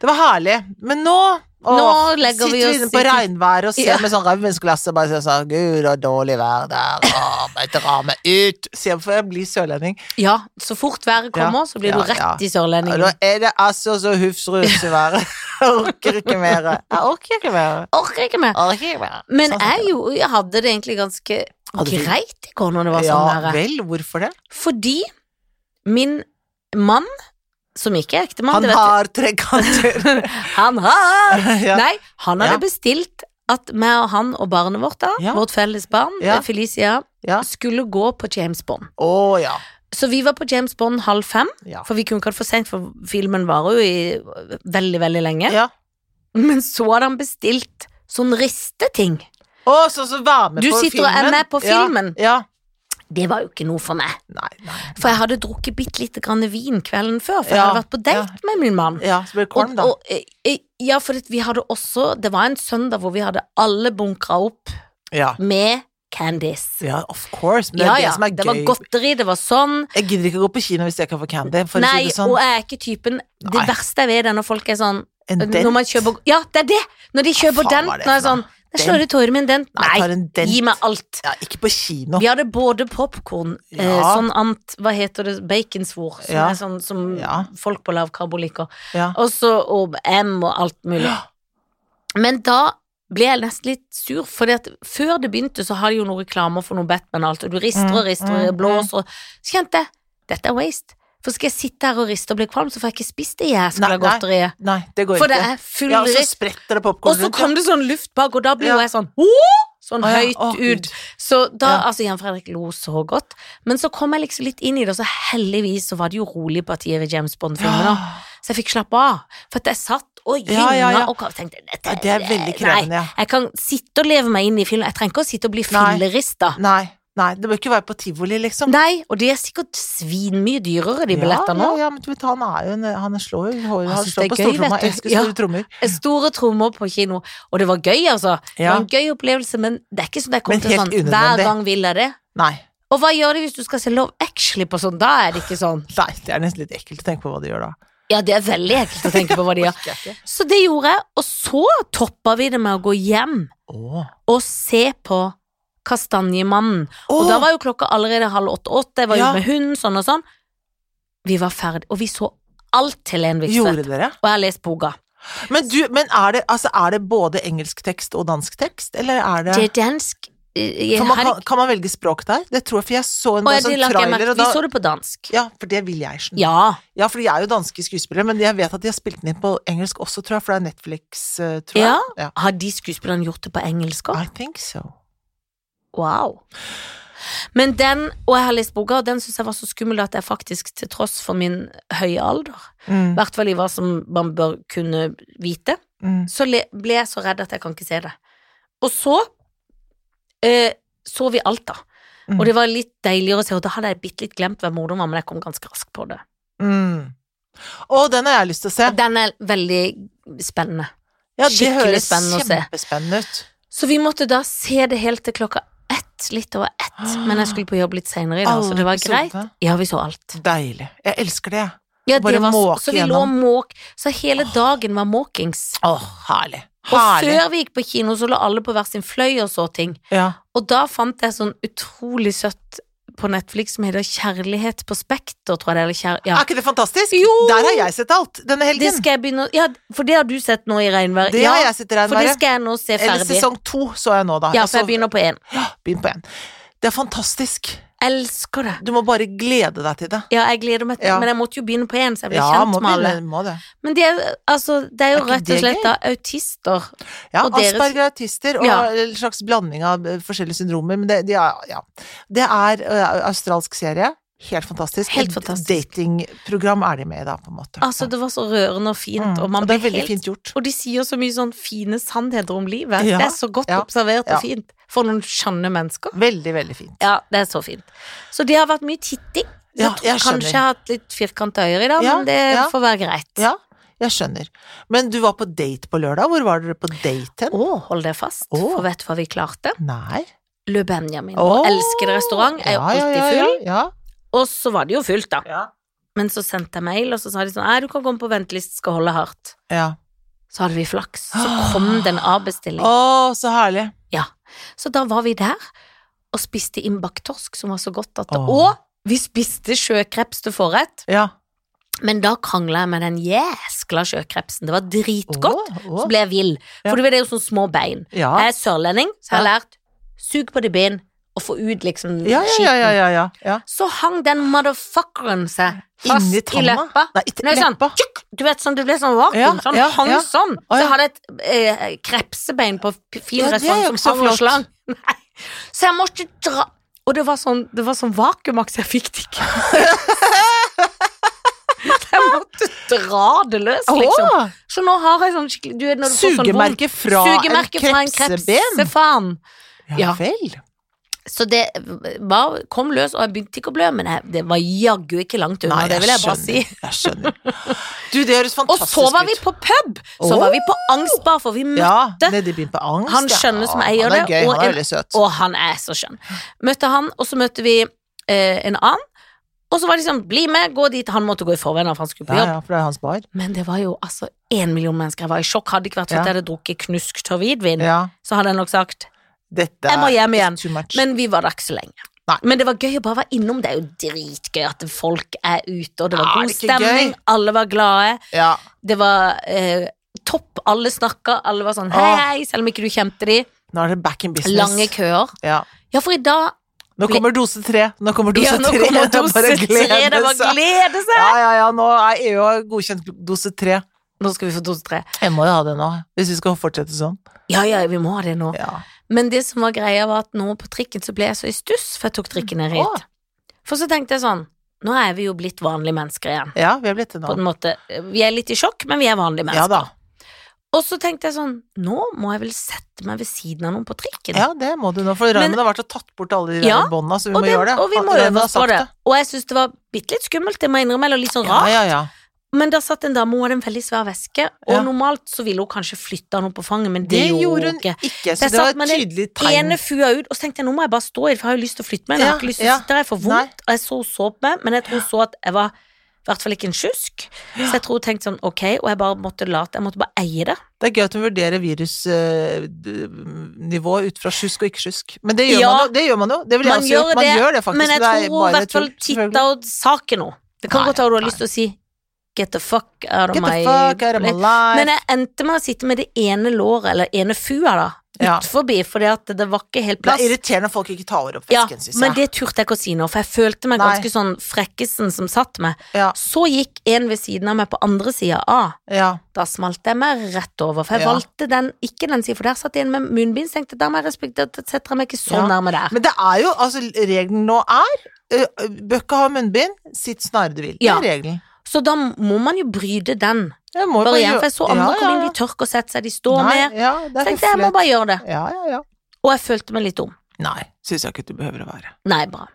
Speaker 1: Det var herlig. Men nå åh,
Speaker 2: Nå legger vi
Speaker 1: sitter
Speaker 2: oss
Speaker 1: vi inne på
Speaker 2: i-
Speaker 1: regnvær og ser
Speaker 2: Ja.
Speaker 1: med sånn ravnsglass og bare sier sånn Gud, og dårlig vær der. Åh, må jeg dra meg ut. Se, for jeg blir sørlending.
Speaker 2: Ja, så fort været kommer,
Speaker 1: Ja,
Speaker 2: så blir
Speaker 1: ja,
Speaker 2: du rett
Speaker 1: ja.
Speaker 2: i sørlendingen.
Speaker 1: Nå er det altså så hufsrus i været. Jeg orker ikke mer. Jeg orker ikke mer.
Speaker 2: Orker ikke mer.
Speaker 1: Orker ikke mer.
Speaker 2: Men
Speaker 1: Sånn
Speaker 2: jeg,
Speaker 1: tenker
Speaker 2: jo, jeg hadde det egentlig ganske
Speaker 1: Hadde du-
Speaker 2: greit i går når det var
Speaker 1: Ja
Speaker 2: sånn været.
Speaker 1: vel, hvorfor det?
Speaker 2: Fordi min mann, som ikke er ektemann,
Speaker 1: Han
Speaker 2: det vet
Speaker 1: har trekanter.
Speaker 2: du Han har
Speaker 1: ja.
Speaker 2: Nei, han hadde
Speaker 1: Ja.
Speaker 2: bestilt at meg og han og barnet vårt, da,
Speaker 1: Ja.
Speaker 2: vårt felles barn,
Speaker 1: Ja.
Speaker 2: eh, Felicia,
Speaker 1: Ja.
Speaker 2: skulle gå på James Bond.
Speaker 1: Å ja.
Speaker 2: Så vi var på James Bond halv fem,
Speaker 1: Ja.
Speaker 2: for vi kunne ikke ha det for seint, for filmen varer jo i eh, veldig, veldig lenge.
Speaker 1: ja.
Speaker 2: Men så hadde han bestilt sånn risteting.
Speaker 1: Å, så så vær med
Speaker 2: Du
Speaker 1: på filmen.
Speaker 2: sitter og er med på filmen.
Speaker 1: Ja. ja.
Speaker 2: Det var jo ikke noe for meg.
Speaker 1: Nei, nei.
Speaker 2: For jeg hadde drukket bitte lite grann vin kvelden før, for jeg
Speaker 1: Ja,
Speaker 2: hadde vært på date med min mann.
Speaker 1: Ja, så blir det kvalm, da.
Speaker 2: Og, og, eh, ja, for det- vi hadde også Det var en søndag hvor vi hadde alle bunkra opp
Speaker 1: Ja.
Speaker 2: med candies.
Speaker 1: ja, of course. Men det er
Speaker 2: Ja, ja.
Speaker 1: det som er
Speaker 2: Det var
Speaker 1: gøy.
Speaker 2: godteri, det var sånn.
Speaker 1: Jeg gidder ikke å gå på kino hvis jeg kan få candy, for å
Speaker 2: Nei,
Speaker 1: si det sånn.
Speaker 2: og eh, jeg er ikke typen Det
Speaker 1: Nei.
Speaker 2: verste jeg vet, er når folk er sånn
Speaker 1: En dent.
Speaker 2: Når man kjøper Ja, det er det! Når de kjøper
Speaker 1: faen
Speaker 2: dent,
Speaker 1: var det
Speaker 2: nå er jeg
Speaker 1: for
Speaker 2: sånn
Speaker 1: noe?
Speaker 2: Jeg slår ut håret med en dent.
Speaker 1: Nei, jeg tar
Speaker 2: Nei,
Speaker 1: en dent.
Speaker 2: gi meg alt.
Speaker 1: Ja, ikke på kino.
Speaker 2: Vi hadde både popkorn, eh,
Speaker 1: Ja.
Speaker 2: sånn ant Hva heter det? Baconsvor, som
Speaker 1: Ja.
Speaker 2: er sånn som
Speaker 1: Ja.
Speaker 2: folk på lavkarbo liker.
Speaker 1: Ja.
Speaker 2: Og så og M og alt mulig. Men da ble jeg nesten litt sur, for før det begynte, så har de jo noen reklamer for noe Batman og alt, og du rister og
Speaker 1: Mm,
Speaker 2: rister
Speaker 1: mm,
Speaker 2: og blåser og Så kjente jeg dette er waste. For skal jeg sitte her og riste og bli kvalm, så får jeg ikke spist det jæskla
Speaker 1: Nei, nei,
Speaker 2: godteriet.
Speaker 1: Nei, det går
Speaker 2: For det
Speaker 1: ikke.
Speaker 2: er full
Speaker 1: Ja, og så
Speaker 2: rist.
Speaker 1: spretter det
Speaker 2: Og
Speaker 1: popkorn
Speaker 2: så kom det sånn luft bak, og da blir jo
Speaker 1: Ja.
Speaker 2: jeg sånn «Åh!» Sånn
Speaker 1: Å, ja.
Speaker 2: høyt
Speaker 1: Å, Gud.
Speaker 2: ut. Så da,
Speaker 1: Ja.
Speaker 2: altså Jan Fredrik lo så godt, men så kom jeg liksom litt inn i det, og så heldigvis så var det jo rolig partiet ved James Bond-filmen da.
Speaker 1: Ja.
Speaker 2: Så jeg fikk slappe av. For at jeg satt og
Speaker 1: Ja,
Speaker 2: gynga
Speaker 1: ja, ja.
Speaker 2: og tenkte dette,
Speaker 1: Ja, det er veldig krevende, ja.
Speaker 2: Nei, jeg kan sitte og leve meg inn i filmen. Jeg trenger ikke å sitte og bli
Speaker 1: Nei.
Speaker 2: fillerista.
Speaker 1: Nei, nei, det bør ikke være på tivoli, liksom.
Speaker 2: Nei, og de er sikkert svinmye dyrere, de billettene
Speaker 1: ja,
Speaker 2: òg.
Speaker 1: ja, men du vet, han er jo en Han slår jo Han,
Speaker 2: Han
Speaker 1: han
Speaker 2: synes
Speaker 1: slår
Speaker 2: det er
Speaker 1: på
Speaker 2: gøy,
Speaker 1: stortromma.
Speaker 2: vet du.
Speaker 1: Jeg elsker store
Speaker 2: Ja.
Speaker 1: trommer.
Speaker 2: Store trommer på kino. Og det var gøy, altså. Det
Speaker 1: Ja.
Speaker 2: var en gøy opplevelse, men det er ikke sånn at jeg
Speaker 1: Men
Speaker 2: kommer til
Speaker 1: helt
Speaker 2: sånn
Speaker 1: unødvendig.
Speaker 2: hver gang vil jeg det.
Speaker 1: Nei.
Speaker 2: Og hva gjør de hvis du skal se Love Actually på sånn? Da er det ikke sånn.
Speaker 1: Nei, det er nesten litt ekkelt å tenke på hva de gjør da.
Speaker 2: Ja, det er veldig ekkelt å tenke på hva de gjør.
Speaker 1: Orker jeg ikke.
Speaker 2: Så det gjorde jeg, og så toppa vi det med å gå hjem
Speaker 1: Åh.
Speaker 2: og se på Kastanjemannen. Og
Speaker 1: Åh,
Speaker 2: da var jo klokka allerede halv åtte-åtte, jeg var
Speaker 1: Ja.
Speaker 2: ute med hunden, sånn og sånn. Vi var ferdig, og vi så alt til Lene
Speaker 1: Gjorde
Speaker 2: Vikstvedt.
Speaker 1: dere?
Speaker 2: Og jeg har lest boka.
Speaker 1: Men, du, men er, det, altså, er det både engelsk tekst og dansk tekst, eller er det
Speaker 2: Det er dansk eh, jeg
Speaker 1: kan man,
Speaker 2: har-
Speaker 1: kan, kan man velge språk der? Det tror jeg, for jeg så en
Speaker 2: Å, ja,
Speaker 1: sånn
Speaker 2: det la ikke jeg merke
Speaker 1: trailer,
Speaker 2: til.
Speaker 1: og
Speaker 2: Vi så
Speaker 1: da
Speaker 2: det på dansk.
Speaker 1: Ja, for det vil jeg skjønne. Ja.
Speaker 2: Ja.
Speaker 1: for de er jo danske skuespillere, men jeg vet at de har spilt den inn på engelsk også, tror jeg, for det er Netflix, eh, tror jeg. Ja.
Speaker 2: Har de skuespillerne gjort det på engelsk òg?
Speaker 1: I think so.
Speaker 2: Wow. Men den, og jeg har lest boka, og den syns jeg var så skummel at jeg faktisk, til tross for min høye alder, i
Speaker 1: Mm,
Speaker 2: hvert fall i hva som man bør kunne vite,
Speaker 1: mm.
Speaker 2: så le, ble jeg så redd at jeg kan ikke se det. Og så eh, så vi alt, da.
Speaker 1: Mhm.
Speaker 2: Og det var litt deiligere å se, og da hadde jeg bitte litt glemt hvem moren var, men jeg kom ganske raskt på det.
Speaker 1: Mm. Å, den har jeg lyst til å se.
Speaker 2: Den er veldig spennende.
Speaker 1: Ja, det
Speaker 2: skikkelig
Speaker 1: høres
Speaker 2: spennende å se.
Speaker 1: kjempespennende ut.
Speaker 2: Så vi måtte da se det helt til klokka ett, litt over ett, men jeg skulle på jobb litt seinere i dag, så
Speaker 1: Alle
Speaker 2: altså, det var
Speaker 1: episodene.
Speaker 2: greit. Ja, vi så alt.
Speaker 1: Deilig. Jeg elsker det, jeg.
Speaker 2: Ja,
Speaker 1: Og bare
Speaker 2: det var, så-
Speaker 1: måke
Speaker 2: så vi lå
Speaker 1: gjennom.
Speaker 2: måk, så hele dagen var måkings.
Speaker 1: Å, herlig.
Speaker 2: Og
Speaker 1: Herlig.
Speaker 2: før vi gikk på kino, så lå alle på hver sin fløy og så ting.
Speaker 1: Ja.
Speaker 2: Og da fant jeg sånn utrolig søtt på Netflix som heter Kjærlighet på Spekter, tror jeg det er. Eller kjær... ja.
Speaker 1: Er ikke det fantastisk?
Speaker 2: Jo!
Speaker 1: Der har jeg sett alt denne
Speaker 2: Det
Speaker 1: helgen. Det,
Speaker 2: skal jeg begynne å Ja, for det har du sett nå i regnværet. Ja,
Speaker 1: har jeg sett i
Speaker 2: for det
Speaker 1: regnværet.
Speaker 2: skal jeg nå se
Speaker 1: Eller
Speaker 2: ferdig.
Speaker 1: sesong to så jeg nå, da.
Speaker 2: Ja,
Speaker 1: så
Speaker 2: for jeg begynner på én.
Speaker 1: begynn på en. Det er fantastisk.
Speaker 2: Elsker det.
Speaker 1: Du må bare glede deg til det.
Speaker 2: Ja, jeg gleder meg til
Speaker 1: Ja.
Speaker 2: Men jeg måtte jo begynne på én, så jeg ble
Speaker 1: Ja,
Speaker 2: kjent
Speaker 1: må,
Speaker 2: med alle.
Speaker 1: begynne- må det.
Speaker 2: Men det er, altså, det er jo
Speaker 1: Er ikke
Speaker 2: rett og
Speaker 1: det
Speaker 2: slett
Speaker 1: gøy?
Speaker 2: da autister.
Speaker 1: Ja,
Speaker 2: Og deres-
Speaker 1: Asperger er autister og
Speaker 2: Ja.
Speaker 1: en slags blanding av eh, forskjellige syndromer, men det, de er, ja. det er eh, australsk serie. Helt fantastisk.
Speaker 2: Helt
Speaker 1: Et
Speaker 2: fantastisk.
Speaker 1: Datingprogram er de med i, da, på en måte.
Speaker 2: Altså, det var så rørende og fint,
Speaker 1: Mm,
Speaker 2: og man
Speaker 1: det
Speaker 2: ble
Speaker 1: er veldig
Speaker 2: helt
Speaker 1: fint gjort.
Speaker 2: Og de sier så mye sånn fine sannheter om livet.
Speaker 1: Ja,
Speaker 2: Det er så godt
Speaker 1: ja,
Speaker 2: observert og
Speaker 1: ja.
Speaker 2: fint. For noen skjønne mennesker.
Speaker 1: Veldig, veldig fint.
Speaker 2: Ja, det er så fint. Så det har vært mye titting. Så
Speaker 1: Ja,
Speaker 2: jeg
Speaker 1: jeg
Speaker 2: tror kanskje
Speaker 1: skjønner.
Speaker 2: jeg har hatt litt firkanta øyre i dag,
Speaker 1: Ja,
Speaker 2: men det
Speaker 1: ja.
Speaker 2: får være greit.
Speaker 1: Ja, jeg skjønner. Men du var på date på lørdag. Hvor var dere på date hen?
Speaker 2: Å, hold deg fast,
Speaker 1: Å.
Speaker 2: for vet du hva vi klarte?
Speaker 1: Nei.
Speaker 2: Le Benjamin,
Speaker 1: Å.
Speaker 2: vår elskede restaurant, er jo alltid full.
Speaker 1: Ja,
Speaker 2: Og så var det jo fullt, da.
Speaker 1: ja,
Speaker 2: Men så sendte jeg mail, og så sa de sånn Nei, du kan komme på venteliste, skal holde hardt.
Speaker 1: ja. ja.
Speaker 2: Så hadde vi flaks. Så kom det en avbestilling.
Speaker 1: Å, så herlig.
Speaker 2: Så da var vi der og spiste innbakt torsk, som var så godt at
Speaker 1: Åh.
Speaker 2: Og vi spiste sjøkreps til forrett,
Speaker 1: Ja.
Speaker 2: men da krangla jeg med den jæskla sjøkrepsen. Det var dritgodt.
Speaker 1: Å, å.
Speaker 2: Så ble jeg vill,
Speaker 1: Ja.
Speaker 2: for det er jo sånn små bein.
Speaker 1: Ja.
Speaker 2: Jeg er sørlending, så jeg har
Speaker 1: Ja.
Speaker 2: lært sug på de bein og få ut liksom
Speaker 1: Ja, ja, ja, ja,
Speaker 2: skiten.
Speaker 1: ja, ja. ja.
Speaker 2: Så hang den motherfuckeren seg fast
Speaker 1: Inni
Speaker 2: i
Speaker 1: tanna?
Speaker 2: leppa.
Speaker 1: Nei, ikke
Speaker 2: Nei, sånn,
Speaker 1: leppa.
Speaker 2: tjukk, du vet sånn, det ble sånn vakuum,
Speaker 1: Ja,
Speaker 2: sånn,
Speaker 1: ja,
Speaker 2: hang
Speaker 1: ja.
Speaker 2: sånn.
Speaker 1: Å, ja.
Speaker 2: Så jeg hadde et eh, krepsebein på p- fin
Speaker 1: Ja, det er
Speaker 2: restaurant
Speaker 1: jo
Speaker 2: som
Speaker 1: ikke så
Speaker 2: hang
Speaker 1: flott.
Speaker 2: og slang. Nei. Så jeg måtte dra. Og det var sånn, det var sånn vakuumaks, jeg fikk det ikke. jeg måtte dra det løs, liksom.
Speaker 1: Å,
Speaker 2: Så nå har jeg sånn skikkelig, du vet når du får sånn vondt.
Speaker 1: Sugemerke fra
Speaker 2: Sugemerke fra en
Speaker 1: krepseben.
Speaker 2: krepsefan. Ja.
Speaker 1: Ja vel.
Speaker 2: Så det var, kom løs, og jeg begynte ikke å blø, men jeg, det var jaggu ikke langt unna, det vil jeg bare si.
Speaker 1: Jeg skjønner. Du, det høres
Speaker 2: Og
Speaker 1: fantastisk ut.
Speaker 2: så var vi på pub! Så
Speaker 1: Åh.
Speaker 2: var vi på angstbar, for vi møtte
Speaker 1: Ja, nede i byen på Angst.
Speaker 2: Han
Speaker 1: ja.
Speaker 2: skjønner som eier
Speaker 1: Han er
Speaker 2: det,
Speaker 1: gøy,
Speaker 2: og
Speaker 1: han
Speaker 2: en-
Speaker 1: er veldig søt.
Speaker 2: Og han er så skjønn. Møtte han, og så møtte vi eh, en annen. Og så var det sånn, bli med, gå dit. Han måtte gå i forveien, for han skulle på
Speaker 1: Ja,
Speaker 2: jobb.
Speaker 1: ja, for det er hans bar.
Speaker 2: Men det var jo altså én million mennesker. Jeg var i sjokk. Hadde det ikke vært for
Speaker 1: Ja.
Speaker 2: at jeg hadde drukket knuskt hørvidvin,
Speaker 1: Ja.
Speaker 2: så hadde jeg nok sagt
Speaker 1: Dette
Speaker 2: Mm. Jeg må hjem
Speaker 1: er
Speaker 2: igjen.
Speaker 1: too much.
Speaker 2: Men vi var der ikke så lenge.
Speaker 1: Nei.
Speaker 2: Men det var gøy å bare være innom. Det er jo dritgøy at folk er ute, og det var
Speaker 1: Ja,
Speaker 2: god
Speaker 1: det er ikke
Speaker 2: stemning.
Speaker 1: gøy.
Speaker 2: Alle var glade.
Speaker 1: ja.
Speaker 2: Det var eh, topp. Alle snakka. Alle var sånn hei,
Speaker 1: Åh.
Speaker 2: hei, selv om ikke du kjente de.
Speaker 1: Nå er det back in business.
Speaker 2: Lange køer.
Speaker 1: Ja.
Speaker 2: Ja, for i dag
Speaker 1: Nå kommer dose tre. Nå kommer dose
Speaker 2: ja, nå
Speaker 1: tre. Det
Speaker 2: kommer
Speaker 1: er
Speaker 2: dose tre. Det er bare å glede seg.
Speaker 1: Ja, ja, ja, nå er EU har godkjent dose tre.
Speaker 2: Nå skal vi få dose tre.
Speaker 1: Jeg må jo ha det nå, hvis vi skal fortsette sånn.
Speaker 2: Ja, ja, vi må ha det nå.
Speaker 1: Ja.
Speaker 2: Men det som var greia, var at nå på trikken så ble jeg så i stuss, for jeg tok trikken
Speaker 1: Åh.
Speaker 2: ned hit. For så tenkte jeg sånn Nå er vi jo blitt vanlige mennesker igjen.
Speaker 1: ja, vi har blitt det
Speaker 2: På
Speaker 1: nå.
Speaker 2: en måte, Vi er litt i sjokk, men vi er vanlige
Speaker 1: Ja
Speaker 2: mennesker.
Speaker 1: da.
Speaker 2: og så tenkte jeg sånn Nå må jeg vel sette meg ved siden av noen på trikken.
Speaker 1: Ja, det må du nå, for
Speaker 2: Men-
Speaker 1: Raymond har vært og tatt bort alle de
Speaker 2: Ja,
Speaker 1: der båndene, så vi
Speaker 2: og,
Speaker 1: må
Speaker 2: det,
Speaker 1: gjøre det.
Speaker 2: og vi
Speaker 1: Raymond
Speaker 2: må øve
Speaker 1: har
Speaker 2: oss på
Speaker 1: sagt
Speaker 2: det. Og jeg syns det var bitte litt skummelt, det må jeg innrømme, eller litt
Speaker 1: Ja,
Speaker 2: sånn rart.
Speaker 1: ja, ja.
Speaker 2: Men der satt en dame, hun hadde en veldig svær veske, og
Speaker 1: Ja.
Speaker 2: normalt så ville hun kanskje flytte han opp på fanget, men det,
Speaker 1: Det gjorde
Speaker 2: gjorde
Speaker 1: hun
Speaker 2: hun ikke.
Speaker 1: ikke,
Speaker 2: Der
Speaker 1: så det var
Speaker 2: satt man
Speaker 1: et
Speaker 2: en
Speaker 1: tydelig tegn.
Speaker 2: Ene fua ut, og så tenkte jeg nå må jeg bare stå i det, for jeg har jo lyst til å flytte meg.
Speaker 1: Ja,
Speaker 2: Jeg har ikke lyst til å
Speaker 1: ja.
Speaker 2: sitte der, jeg får
Speaker 1: Nei.
Speaker 2: vondt. Og jeg så hun så på meg, men jeg tror hun så at jeg var i hvert fall ikke en sjusk. Så jeg tror hun tenkte sånn ok, og jeg bare måtte late, jeg måtte bare eie det.
Speaker 1: Det er gøy at hun vurderer virusnivå ut fra sjusk og ikke sjusk. Men det gjør
Speaker 2: Ja.
Speaker 1: man jo. Det gjør man jo. Det vil jeg også
Speaker 2: Man
Speaker 1: si.
Speaker 2: gjør
Speaker 1: at Man
Speaker 2: det,
Speaker 1: gjør det faktisk.
Speaker 2: men jeg
Speaker 1: det
Speaker 2: tror hun i
Speaker 1: bare
Speaker 2: hvert fall
Speaker 1: tull, selvfølgelig.
Speaker 2: titta og saken nå. Det kan
Speaker 1: Nei,
Speaker 2: godt hende hun har
Speaker 1: nei.
Speaker 2: lyst til å si get the fuck out of
Speaker 1: Get
Speaker 2: my
Speaker 1: the fuck out of my life.
Speaker 2: Men jeg endte med å sitte med det ene låret, eller ene fua, da,
Speaker 1: Ja.
Speaker 2: utforbi, fordi at det var ikke helt
Speaker 1: det er
Speaker 2: plass.
Speaker 1: irriterende at folk ikke tar opp
Speaker 2: Ja,
Speaker 1: vesken, synes
Speaker 2: men
Speaker 1: jeg.
Speaker 2: det turte jeg ikke å si nå, for jeg følte meg
Speaker 1: Nei.
Speaker 2: ganske sånn frekkesen som satt meg.
Speaker 1: Ja,
Speaker 2: Så gikk en ved siden av meg på andre sida av.
Speaker 1: ja.
Speaker 2: Da smalt jeg meg rett over, for jeg
Speaker 1: Ja.
Speaker 2: valgte den, ikke den siden, for der satt en med munnbind, så tenkte jeg, der må jeg respektere, da setter jeg meg ikke så
Speaker 1: Ja.
Speaker 2: nærme der.
Speaker 1: Men det er jo, altså regelen nå er ø, ø, Bør ikke ha munnbind, sitt snarere du vil. Det
Speaker 2: Ja.
Speaker 1: er regelen.
Speaker 2: Så da må man jo bryte den
Speaker 1: Jeg må bare
Speaker 2: barrieren,
Speaker 1: gjøre-
Speaker 2: for jeg så andre
Speaker 1: Ja,
Speaker 2: komme
Speaker 1: ja,
Speaker 2: inn,
Speaker 1: ja.
Speaker 2: de tørker å sette seg, de står
Speaker 1: Nei,
Speaker 2: ned.
Speaker 1: Ja, det
Speaker 2: Så
Speaker 1: er
Speaker 2: tenkte jeg, jeg må
Speaker 1: høflighet.
Speaker 2: bare gjøre det.
Speaker 1: Ja, ja, ja.
Speaker 2: Og jeg følte meg litt dum.
Speaker 1: Nei, syns jeg ikke du behøver å være.
Speaker 2: Nei, bra.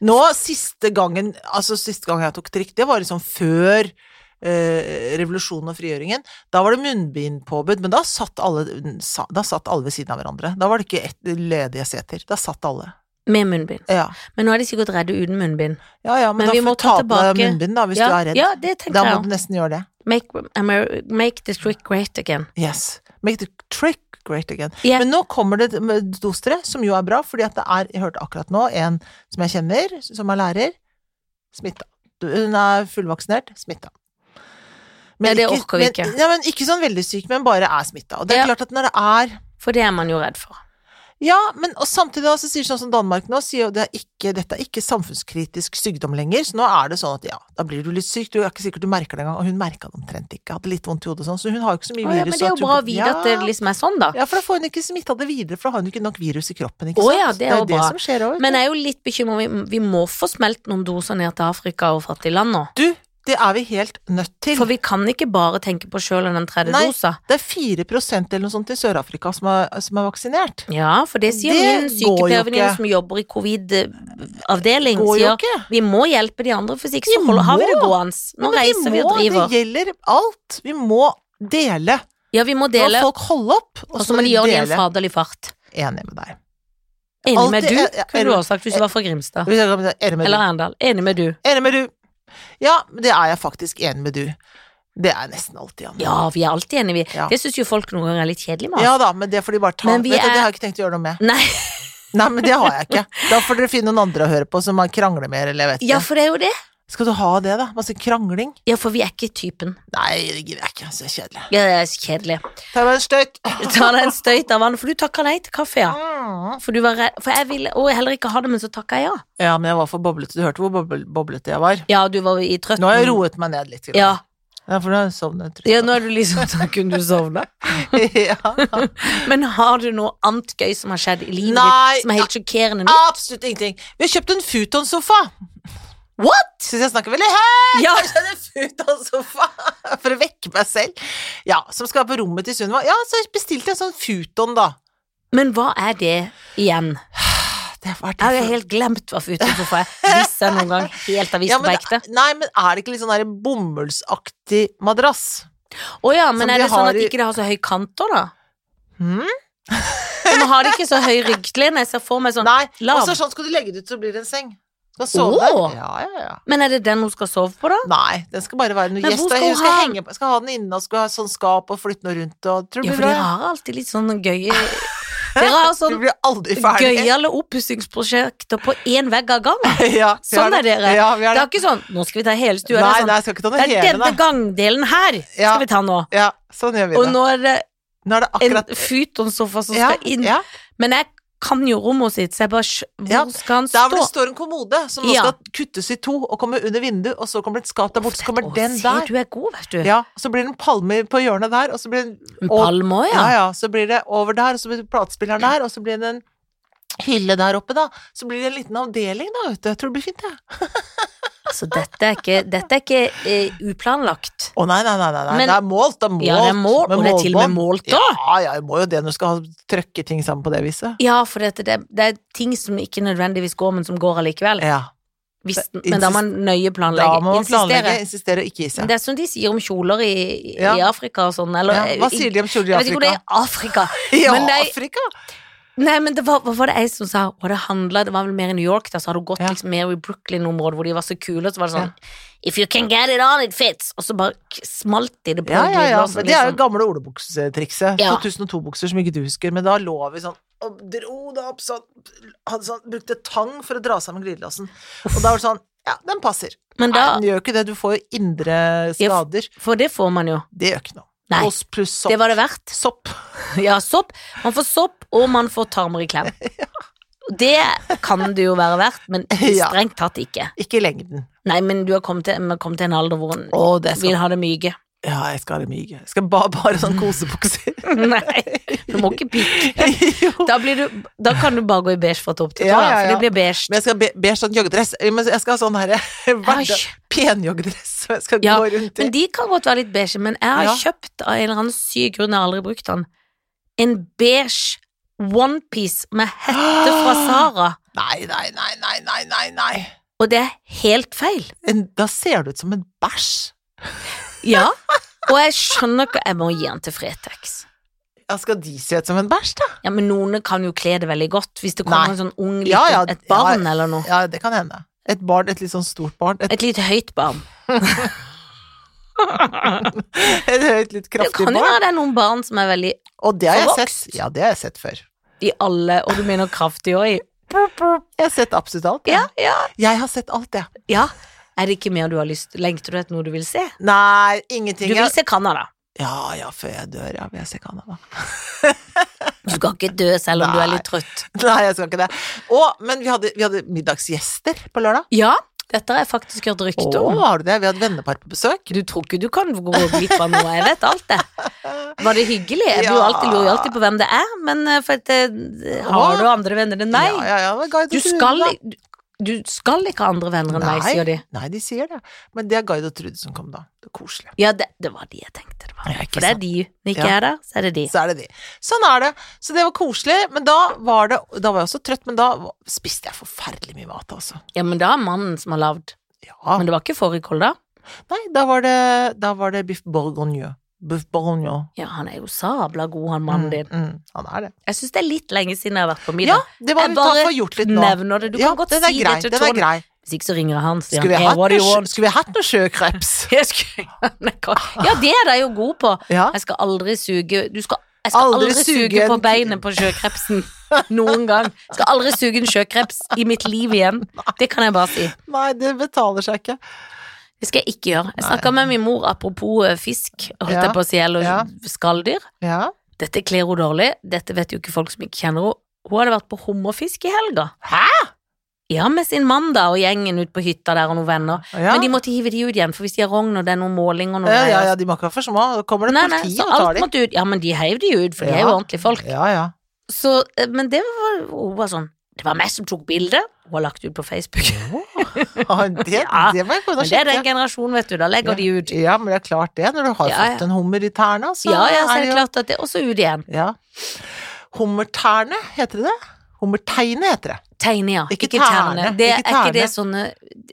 Speaker 1: Nå, siste gangen Altså, siste gang jeg tok trikk, det var liksom før eh, revolusjonen og frigjøringen. Da var det munnbindpåbud, men da satt, alle, sa, da satt alle ved siden av hverandre. Da var det ikke ett ledige seter. Da satt alle.
Speaker 2: Med munnbind.
Speaker 1: Ja
Speaker 2: Men nå er de sikkert redde uten munnbind.
Speaker 1: ja, ja men,
Speaker 2: Men vi
Speaker 1: da
Speaker 2: må
Speaker 1: får du ta
Speaker 2: ta
Speaker 1: på deg
Speaker 2: tilbake-
Speaker 1: munnbind, da, hvis
Speaker 2: ja,
Speaker 1: du er redd.
Speaker 2: Ja, det
Speaker 1: da må
Speaker 2: tenker jeg
Speaker 1: du
Speaker 2: også.
Speaker 1: nesten gjøre det.
Speaker 2: Make, Amer- make the trick great again.
Speaker 1: Yes. Make the trick great again.
Speaker 2: Yeah.
Speaker 1: Men nå kommer det med dostre, som jo er bra, fordi at det er, jeg hørte akkurat nå, en som jeg kjenner, som er lærer, smitta. Hun er fullvaksinert, smitta.
Speaker 2: Ja, det orker vi ikke.
Speaker 1: Men, ja, men ikke sånn veldig syk, men bare er smitta. Og det er
Speaker 2: Ja.
Speaker 1: klart at når det er
Speaker 2: For det er man jo redd for.
Speaker 1: Ja, men og samtidig da, så sier sånn som Danmark nå, sier jo det er ikke, dette er ikke samfunnskritisk sykdom lenger, så nå er det sånn at ja, da blir du litt syk, du er ikke sikkert du merker det engang, og hun merka det omtrent ikke, hadde litt vondt i hodet og sånn, så hun har jo ikke så mye
Speaker 2: Å, ja,
Speaker 1: virus.
Speaker 2: men det er
Speaker 1: at
Speaker 2: jo
Speaker 1: hun-
Speaker 2: bra å vite at det liksom er sånn, da.
Speaker 1: Ja, for da får hun ikke smitta det videre, for da har hun ikke nok virus i kroppen, ikke
Speaker 2: Å,
Speaker 1: sant.
Speaker 2: ja, det er jo
Speaker 1: det
Speaker 2: bra.
Speaker 1: som skjer òg.
Speaker 2: Men jeg er jo litt bekymret, vi, vi må få smelt noen doser ned til Afrika og fattige land nå.
Speaker 1: Du, det er vi helt nødt til.
Speaker 2: For vi kan ikke bare tenke på sjøl og den tredje
Speaker 1: Nei.
Speaker 2: dosa.
Speaker 1: Det er 4 eller noe sånt i Sør-Afrika som, er- som er vaksinert.
Speaker 2: Ja, for det sier
Speaker 1: Det
Speaker 2: min
Speaker 1: går jo
Speaker 2: sykepleiervenninne
Speaker 1: ikke.
Speaker 2: som jobber i covid-avdeling.
Speaker 1: Går jo
Speaker 2: sier
Speaker 1: ikke.
Speaker 2: vi må hjelpe de andre, for hvis ikke
Speaker 1: Vi
Speaker 2: så holder, har vi det
Speaker 1: må.
Speaker 2: gående. Nå
Speaker 1: Men vi
Speaker 2: reiser vi og
Speaker 1: må,
Speaker 2: driver.
Speaker 1: Det gjelder alt. Vi må dele.
Speaker 2: Ja, vi må
Speaker 1: Dele.
Speaker 2: dele,
Speaker 1: folk holde opp,
Speaker 2: og så må de gjøre det i en faderlig fart.
Speaker 1: Enig med deg.
Speaker 2: Enig med
Speaker 1: Alltid-
Speaker 2: du,
Speaker 1: ja, ja,
Speaker 2: kunne
Speaker 1: er
Speaker 2: du
Speaker 1: du-
Speaker 2: også sagt hvis du var fra Grimstad.
Speaker 1: Hvis jeg kan- Enig med
Speaker 2: Ah. Eller
Speaker 1: du.
Speaker 2: Arendal. Enig med du.
Speaker 1: Enig med du. Ja, men det er jeg faktisk enig med du. Det er jeg nesten alltid, Anne.
Speaker 2: Ja, vi er alltid enige, vi.
Speaker 1: Ja.
Speaker 2: Det syns jo folk noen ganger er litt kjedelig med oss.
Speaker 1: Ja da, men det får de bare ta.
Speaker 2: Men
Speaker 1: Vet
Speaker 2: vi
Speaker 1: du, Det
Speaker 2: er-
Speaker 1: har jeg ikke tenkt å gjøre noe med.
Speaker 2: Nei,
Speaker 1: Nei, men det har jeg ikke. Da får dere finne noen andre å høre på som man krangler med, eller jeg vet
Speaker 2: ja,
Speaker 1: ikke.
Speaker 2: for det er jo det.
Speaker 1: Skal du ha det, da? Masse krangling?
Speaker 2: Ja, for vi er ikke typen.
Speaker 1: Nei, det gidder jeg ikke. Så kjedelig.
Speaker 2: Ja, det er så kjedelig.
Speaker 1: Ta meg en støyt.
Speaker 2: Ta deg en støyt av vann, for du takka nei til kaffe, ja.
Speaker 1: Mm.
Speaker 2: For du var redd For jeg ville å, jeg heller ikke ha det, men så takka jeg ja.
Speaker 1: Ja, men jeg var for boblete. Du hørte hvor boble- boblete jeg var.
Speaker 2: Ja, du var jo i trøtten.
Speaker 1: Nå har jeg roet meg ned litt.
Speaker 2: Mm. Ja.
Speaker 1: Ja, for nå har jeg sovnet.
Speaker 2: ja, nå er du liksom sånn kunne du sovne.
Speaker 1: ja.
Speaker 2: Men har du noe annet gøy som har skjedd i livet
Speaker 1: Nei.
Speaker 2: ditt, som er helt sjokkerende nå?
Speaker 1: Absolutt ingenting. Vi har kjøpt en futonsofa.
Speaker 2: What?!
Speaker 1: Syns jeg snakker veldig høyt.
Speaker 2: Ja,
Speaker 1: Jeg kjøpte en futonsofa for å vekke meg selv. Ja, Som skal være på rommet til Sunniva. Ja, så bestilte jeg sånn futon, da.
Speaker 2: men hva er det igjen?
Speaker 1: Det har vært
Speaker 2: Jeg har jo helt glemt hva for utenfor jeg Hvis jeg noen gang helt har vist
Speaker 1: Ja,
Speaker 2: det på
Speaker 1: men
Speaker 2: ekte.
Speaker 1: det- Nei, men er det ikke litt sånn der bomullsaktig madrass?
Speaker 2: Å ja, men
Speaker 1: Som
Speaker 2: er
Speaker 1: de
Speaker 2: det sånn
Speaker 1: har
Speaker 2: at
Speaker 1: i-
Speaker 2: ikke det har så høy kanter, da?
Speaker 1: Hmm?
Speaker 2: Men har det ikke så høy rygglene? Jeg ser for meg sånn
Speaker 1: Nei.
Speaker 2: lav.
Speaker 1: Og så sånn skal du legge det ut, så blir det en seng. Skal sove
Speaker 2: Åh.
Speaker 1: der. Ja, ja, ja.
Speaker 2: Men er det den hun skal sove på, da?
Speaker 1: Nei, den skal bare være noe
Speaker 2: Men
Speaker 1: gjest.
Speaker 2: hvor skal
Speaker 1: Skal
Speaker 2: hun
Speaker 1: hun skal,
Speaker 2: ha den?
Speaker 1: henge på, skal ha den inne og skal ha sånn skap og flytte noe rundt. Og, tror du
Speaker 2: Ja,
Speaker 1: det
Speaker 2: for
Speaker 1: blir bra?
Speaker 2: dere har alltid litt sånn gøye Dere har
Speaker 1: Du
Speaker 2: sånn
Speaker 1: blir aldri ferdig.
Speaker 2: gøyale oppussingsprosjekter på én vegg av gangen.
Speaker 1: ja, vi
Speaker 2: Sånn
Speaker 1: har
Speaker 2: er dere.
Speaker 1: Ja, vi
Speaker 2: Det
Speaker 1: har
Speaker 2: er
Speaker 1: det.
Speaker 2: ikke sånn 'nå skal vi ta hele stua'.
Speaker 1: nei,
Speaker 2: det
Speaker 1: nei,
Speaker 2: er,
Speaker 1: jeg skal ikke ta
Speaker 2: sånn,
Speaker 1: noe
Speaker 2: det er
Speaker 1: hele,
Speaker 2: denne
Speaker 1: da.
Speaker 2: gangdelen her
Speaker 1: Ja.
Speaker 2: skal vi ta nå.
Speaker 1: Ja, sånn gjør vi
Speaker 2: Og
Speaker 1: det. Nå,
Speaker 2: nå er
Speaker 1: er
Speaker 2: det
Speaker 1: det
Speaker 2: en
Speaker 1: akkurat
Speaker 2: futonsofa som
Speaker 1: ja,
Speaker 2: skal inn.
Speaker 1: ja.
Speaker 2: Men jeg kan jo rommet sitt, så jeg bare skj-
Speaker 1: Ja,
Speaker 2: Hvor skal han
Speaker 1: Der hvor det
Speaker 2: stå?
Speaker 1: står en kommode som nå
Speaker 2: Ja.
Speaker 1: skal kuttes i to og komme under vinduet, og så kommer det et skap der borte, så kommer
Speaker 2: Å,
Speaker 1: den
Speaker 2: se,
Speaker 1: der.
Speaker 2: du er god, vet du.
Speaker 1: Ja, så blir det en palme på hjørnet der, og så blir det
Speaker 2: En
Speaker 1: og-
Speaker 2: palme òg,
Speaker 1: Ja,
Speaker 2: ja.
Speaker 1: ja, så blir det over der, og så blir det platespilleren der, og så blir det en hylle der oppe, da. Så blir det en liten avdeling, da, vet du. Jeg tror det blir fint, jeg.
Speaker 2: Altså, dette er ikke, dette er ikke eh, uplanlagt.
Speaker 1: Å nei, nei, nei, nei, nei.
Speaker 2: Men-
Speaker 1: det er målt, det er målt.
Speaker 2: Ja, det er mål,
Speaker 1: med
Speaker 2: og det er til og med
Speaker 1: målbånd.
Speaker 2: målt da.
Speaker 1: Ja, ja, du må jo det når du skal ha- trøkke ting sammen på det viset.
Speaker 2: Ja, for dette, det, det er ting som ikke nødvendigvis går, men som går allikevel.
Speaker 1: Ja,
Speaker 2: Hvis,
Speaker 1: Det-
Speaker 2: men da må man nøye planlegge.
Speaker 1: da må man planlegge,
Speaker 2: Insistere.
Speaker 1: insistere og ikke gi seg.
Speaker 2: Det er som de sier om kjoler i,
Speaker 1: Ja.
Speaker 2: i Afrika og sånn. Eller,
Speaker 1: Ja, hva sier de om kjoler i
Speaker 2: Jeg vet ikke hvor det
Speaker 1: Afrika?
Speaker 2: er i Afrika.
Speaker 1: Ja,
Speaker 2: men det er-
Speaker 1: Afrika!
Speaker 2: Nei, men det var, hva var det ei som sa? Og det handla Det var vel mer i New York, da, så hadde hun gått
Speaker 1: Ja.
Speaker 2: liksom mer i Brooklyn-området hvor de var så kule, og så var det sånn If you can get it on, it fits! Og så bare k- smalt de det på
Speaker 1: Ja, ja, ja.
Speaker 2: glideglasset,
Speaker 1: Men det er jo
Speaker 2: liksom.
Speaker 1: gamle olebuksetrikset.
Speaker 2: Ja.
Speaker 1: 2002-bukser som ikke du husker, men da lå vi sånn og dro det opp sånn, hadde sånn Brukte tang for å dra sammen glidelåsen. Og da var det sånn Ja, den passer.
Speaker 2: Men da
Speaker 1: Nei, den gjør jo ikke det. Du får jo indre
Speaker 2: Ja,
Speaker 1: skader.
Speaker 2: For det får man jo.
Speaker 1: Det gjør ikke noe.
Speaker 2: Nei.
Speaker 1: Oss pluss sopp.
Speaker 2: Det var det verdt.
Speaker 1: Sopp.
Speaker 2: Ja, sopp. Man får sopp, og man får tarmer i klem. Det kan det jo være verdt, men
Speaker 1: Ja.
Speaker 2: strengt tatt ikke.
Speaker 1: Ikke i lengden.
Speaker 2: Nei, men du har kommet til, vi har kommet til en alder hvor en
Speaker 1: Å, det skal
Speaker 2: vil ha det myke.
Speaker 1: Ja, jeg skal ha det myke. Jeg skal bare, bare sånn kosebukser.
Speaker 2: Nei, du må ikke pikke.
Speaker 1: jo.
Speaker 2: Da, blir du, da kan du bare gå i beige fra topp til tå,
Speaker 1: Ja,
Speaker 2: da,
Speaker 1: ja,
Speaker 2: for
Speaker 1: ja.
Speaker 2: det blir beige.
Speaker 1: Men jeg skal be, beige sånn joggedress. Eh, Men jeg skal ha sånn herre
Speaker 2: Æsj.
Speaker 1: penjoggedress som jeg skal
Speaker 2: Ja,
Speaker 1: gå rundt i.
Speaker 2: Men de kan godt være litt beige, men jeg har
Speaker 1: Ja.
Speaker 2: kjøpt av en eller annen syk grunn, jeg har aldri brukt den, en beige onepiece med hette fra Sara,
Speaker 1: Nei, nei, nei, nei, nei, nei. nei.
Speaker 2: og det er helt feil.
Speaker 1: En, da ser du ut som en bæsj.
Speaker 2: Ja, og jeg skjønner ikke Jeg må gi den til Fretex.
Speaker 1: Ja, skal de se ut som en bæsj, da?
Speaker 2: Ja, men noen kan jo kle det veldig godt Hvis det kommer
Speaker 1: Nei.
Speaker 2: en sånn ung liten,
Speaker 1: Ja, ja,
Speaker 2: et barn
Speaker 1: ja.
Speaker 2: eller noe
Speaker 1: Ja, det kan hende. Et barn, et litt sånn stort barn. Et,
Speaker 2: Et lite høyt barn
Speaker 1: et høyt, litt
Speaker 2: Det
Speaker 1: kraftig
Speaker 2: kan jo
Speaker 1: barn.
Speaker 2: være det er noen barn som er veldig
Speaker 1: Og det har jeg
Speaker 2: Forvokst.
Speaker 1: sett. Ja, det har jeg sett før.
Speaker 2: I alle, og du mener kraftig også i-
Speaker 1: Jeg har sett absolutt alt.
Speaker 2: Ja, ja,
Speaker 1: Jeg har sett alt, jeg.
Speaker 2: ja Er det ikke mer du har lyst Lengter du etter noe du vil se?
Speaker 1: Nei,
Speaker 2: Du
Speaker 1: ingenting.
Speaker 2: vil se Canada
Speaker 1: Ja, ja, før jeg dør, ja, vil jeg se Canada.
Speaker 2: Du skal ikke dø selv om du er litt trøtt.
Speaker 1: Nei, jeg skal ikke det. Og, men vi hadde, vi hadde middagsgjester på lørdag.
Speaker 2: Ja, dette har jeg faktisk hørt rykte
Speaker 1: Å,
Speaker 2: om.
Speaker 1: har du det? Vi hadde vennepar på besøk.
Speaker 2: Du tror ikke du kan gå glipp av noe, jeg vet alt det. Var det hyggelig? Jeg blir jo
Speaker 1: Ja.
Speaker 2: alltid, lurer jo alltid på hvem det er, men eh, for at, eh, har du andre venner enn meg?
Speaker 1: Ja, ja, ja, men guide
Speaker 2: Du
Speaker 1: og Trude,
Speaker 2: skal,
Speaker 1: da.
Speaker 2: i- du skal ikke ha andre venner enn meg,
Speaker 1: Nei.
Speaker 2: sier de.
Speaker 1: Nei, de sier det. Men det er Guide og Trude som kom da. Det er koselig.
Speaker 2: Ja, det, det var de jeg tenkte det var.
Speaker 1: Ja, ikke
Speaker 2: For det er de. Når ikke
Speaker 1: Ja.
Speaker 2: jeg er der, så er det de.
Speaker 1: Så er det de. Sånn er det. Så det var koselig, men da var det Da var jeg også trøtt, men da var- spiste jeg forferdelig mye mat, altså.
Speaker 2: Ja, men da er mannen som har lagd.
Speaker 1: Ja.
Speaker 2: Men det var ikke fårikål da.
Speaker 1: Nei, da var det Da var det biff bourgogne. Biff bourgogne.
Speaker 2: Ja, han er jo sabla god, han mannen din.
Speaker 1: Mm, mm, han er det.
Speaker 2: Jeg syns det er litt lenge siden jeg har vært på
Speaker 1: Ja,
Speaker 2: middag.
Speaker 1: det var
Speaker 2: Jeg
Speaker 1: vi tar
Speaker 2: bare
Speaker 1: for gjort litt nå.
Speaker 2: Nevner det. Du
Speaker 1: ja,
Speaker 2: kan godt
Speaker 1: den er
Speaker 2: si
Speaker 1: grei.
Speaker 2: det til
Speaker 1: den er
Speaker 2: Tone.
Speaker 1: grei.
Speaker 2: Hvis ikke så ringer han, sier han.
Speaker 1: Skulle vi
Speaker 2: Hey,
Speaker 1: hatt
Speaker 2: what do
Speaker 1: noe,
Speaker 2: you
Speaker 1: sjø-
Speaker 2: want?
Speaker 1: skulle vi hatt noe sjøkreps?
Speaker 2: Jeg skulle- Men jeg kan- Ja, det er de jo gode på.
Speaker 1: Ja.
Speaker 2: Jeg skal aldri suge Du skal jeg skal
Speaker 1: Aldri
Speaker 2: aldri,
Speaker 1: suge
Speaker 2: suge på
Speaker 1: en-
Speaker 2: beinet på sjøkrepsen noen gang. Jeg skal aldri suge en sjøkreps i mitt liv igjen. Det kan jeg bare si.
Speaker 1: Nei, det betaler seg ikke.
Speaker 2: Det skal jeg ikke gjøre. Jeg snakka med min mor apropos eh, fisk, holdt
Speaker 1: Ja.
Speaker 2: jeg på å si, eller
Speaker 1: Ja.
Speaker 2: skalldyr.
Speaker 1: Ja.
Speaker 2: Dette kler hun dårlig. Dette vet jo ikke folk som ikke kjenner henne. Hun hadde vært på hummerfiske i helga.
Speaker 1: Hæ?
Speaker 2: Ja, med sin mann da, og gjengen ut på hytta der og noen venner.
Speaker 1: Ja.
Speaker 2: Men de måtte hive de ut igjen, for hvis de har rogn og det er noen måling og noe
Speaker 1: ja, ja,
Speaker 2: greier,
Speaker 1: ja, de må ikke være for små. Da kommer det
Speaker 2: Nei, nei,
Speaker 1: politi
Speaker 2: så
Speaker 1: og tar
Speaker 2: alt
Speaker 1: dem.
Speaker 2: måtte ut. Ja, men de heiv de ut, for de er
Speaker 1: Ja.
Speaker 2: jo ordentlige folk.
Speaker 1: Ja, ja.
Speaker 2: Så, eh, men det var, hun var sånn Det var meg som tok bildet. Hun har lagt ut på Facebook.
Speaker 1: Ah, Det,
Speaker 2: Ja,
Speaker 1: det må jeg gå inn
Speaker 2: Men
Speaker 1: og
Speaker 2: det er den
Speaker 1: sjekke.
Speaker 2: generasjonen, vet du. Da legger de ut.
Speaker 1: Ja, men det er klart det. Når du har
Speaker 2: Ja,
Speaker 1: fått en hummer i tærne, så
Speaker 2: Ja, ja,
Speaker 1: er
Speaker 2: så
Speaker 1: det
Speaker 2: er det
Speaker 1: jo
Speaker 2: klart at det er også ut igjen.
Speaker 1: ja. Hummertærne, heter det det? Hummerteine heter det.
Speaker 2: Tegne, ja.
Speaker 1: Ikke
Speaker 2: Ikke,
Speaker 1: terne,
Speaker 2: terne. Det,
Speaker 1: ikke
Speaker 2: er ikke det
Speaker 1: terne.
Speaker 2: sånne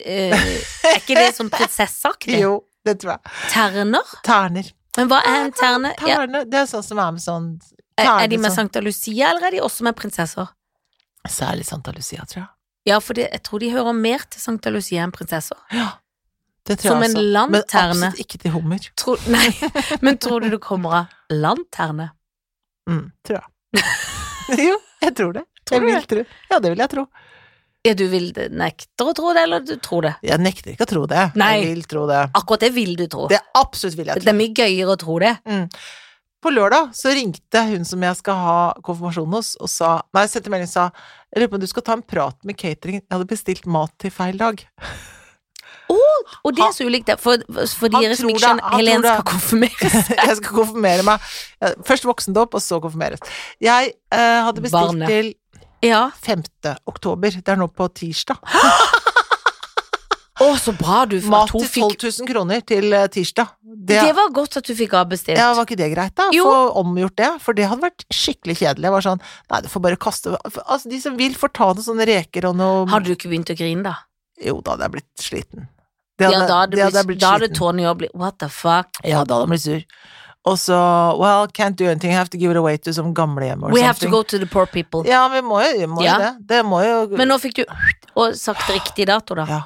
Speaker 2: eh, Er ikke det sånn prinsesseaktig?
Speaker 1: Jo, det tror jeg.
Speaker 2: Terner?
Speaker 1: Terner.
Speaker 2: Men hva er en terne? Ja,
Speaker 1: Terne, Det er sånn som er med sånn
Speaker 2: er, er de
Speaker 1: terne liksom.
Speaker 2: med
Speaker 1: som-
Speaker 2: Sankta Lucia, eller er de også med prinsesser?
Speaker 1: Særlig Santa Lucia, tror jeg.
Speaker 2: Ja, for det, jeg tror de hører mer til Sankta Lucia enn prinsesser.
Speaker 1: Det tror
Speaker 2: Som
Speaker 1: jeg
Speaker 2: en
Speaker 1: også.
Speaker 2: landterne.
Speaker 1: Men absolutt ikke til hummer.
Speaker 2: Tror- nei, men tror du det kommer av landterne?
Speaker 1: Mm, tror jeg. jo, jeg tror det.
Speaker 2: Tror du
Speaker 1: jeg vil tro. Ja, det vil jeg tro.
Speaker 2: Ja, du vil nekter å tro det, eller du tror det?
Speaker 1: Jeg nekter ikke å tro det.
Speaker 2: Nei.
Speaker 1: Jeg vil tro det.
Speaker 2: Akkurat det vil du tro.
Speaker 1: Det absolutt vil jeg
Speaker 2: Det
Speaker 1: tro.
Speaker 2: er mye gøyere å tro det.
Speaker 1: På lørdag så ringte hun som jeg skal ha konfirmasjon hos, og sa Nei, sendte melding og sa Jeg lurer på om du skal ta en prat med catering. Jeg hadde bestilt mat til feil dag.
Speaker 2: Og det er så ulikt, det. For, for
Speaker 1: Han
Speaker 2: dere som
Speaker 1: tror
Speaker 2: ikke
Speaker 1: det,
Speaker 2: skjønner,
Speaker 1: han tror
Speaker 2: Helen
Speaker 1: det.
Speaker 2: skal konfirmeres.
Speaker 1: jeg skal konfirmere meg. Ja, Først voksendåp, og så konfirmeres. Jeg eh, hadde bestilt
Speaker 2: Barnet.
Speaker 1: til
Speaker 2: Ja.
Speaker 1: 5. oktober. Det er nå på tirsdag.
Speaker 2: Å, så bra du for
Speaker 1: Mat
Speaker 2: at hun
Speaker 1: til 12
Speaker 2: fikk
Speaker 1: 000 kroner til eh, tirsdag. Det,
Speaker 2: Det var godt at du fikk avbestilt.
Speaker 1: ja, Var ikke det greit, da?
Speaker 2: Jo.
Speaker 1: Få omgjort det. For det hadde vært skikkelig kjedelig. Jeg var sånn Nei, du får bare kaste for, Altså, de som vil, får ta noen sånne reker og noe
Speaker 2: Hadde du ikke begynt å grine, da?
Speaker 1: Jo, da hadde jeg blitt sliten. Det
Speaker 2: Ja,
Speaker 1: hadde,
Speaker 2: da hadde,
Speaker 1: det hadde
Speaker 2: du
Speaker 1: jeg
Speaker 2: blitt,
Speaker 1: blitt
Speaker 2: da hadde
Speaker 1: sliten.
Speaker 2: Tony òg blitt What the fuck?
Speaker 1: Ja, da hadde jeg blitt sur. Og så Well, can't do anything, have to give it away to some gamlehjem or
Speaker 2: We have
Speaker 1: something.
Speaker 2: to go to the poor people.
Speaker 1: Ja, vi må jo, vi må jo
Speaker 2: Ja.
Speaker 1: det. Det må jo
Speaker 2: Men nå fikk du og sagt riktig dato, da.
Speaker 1: ja.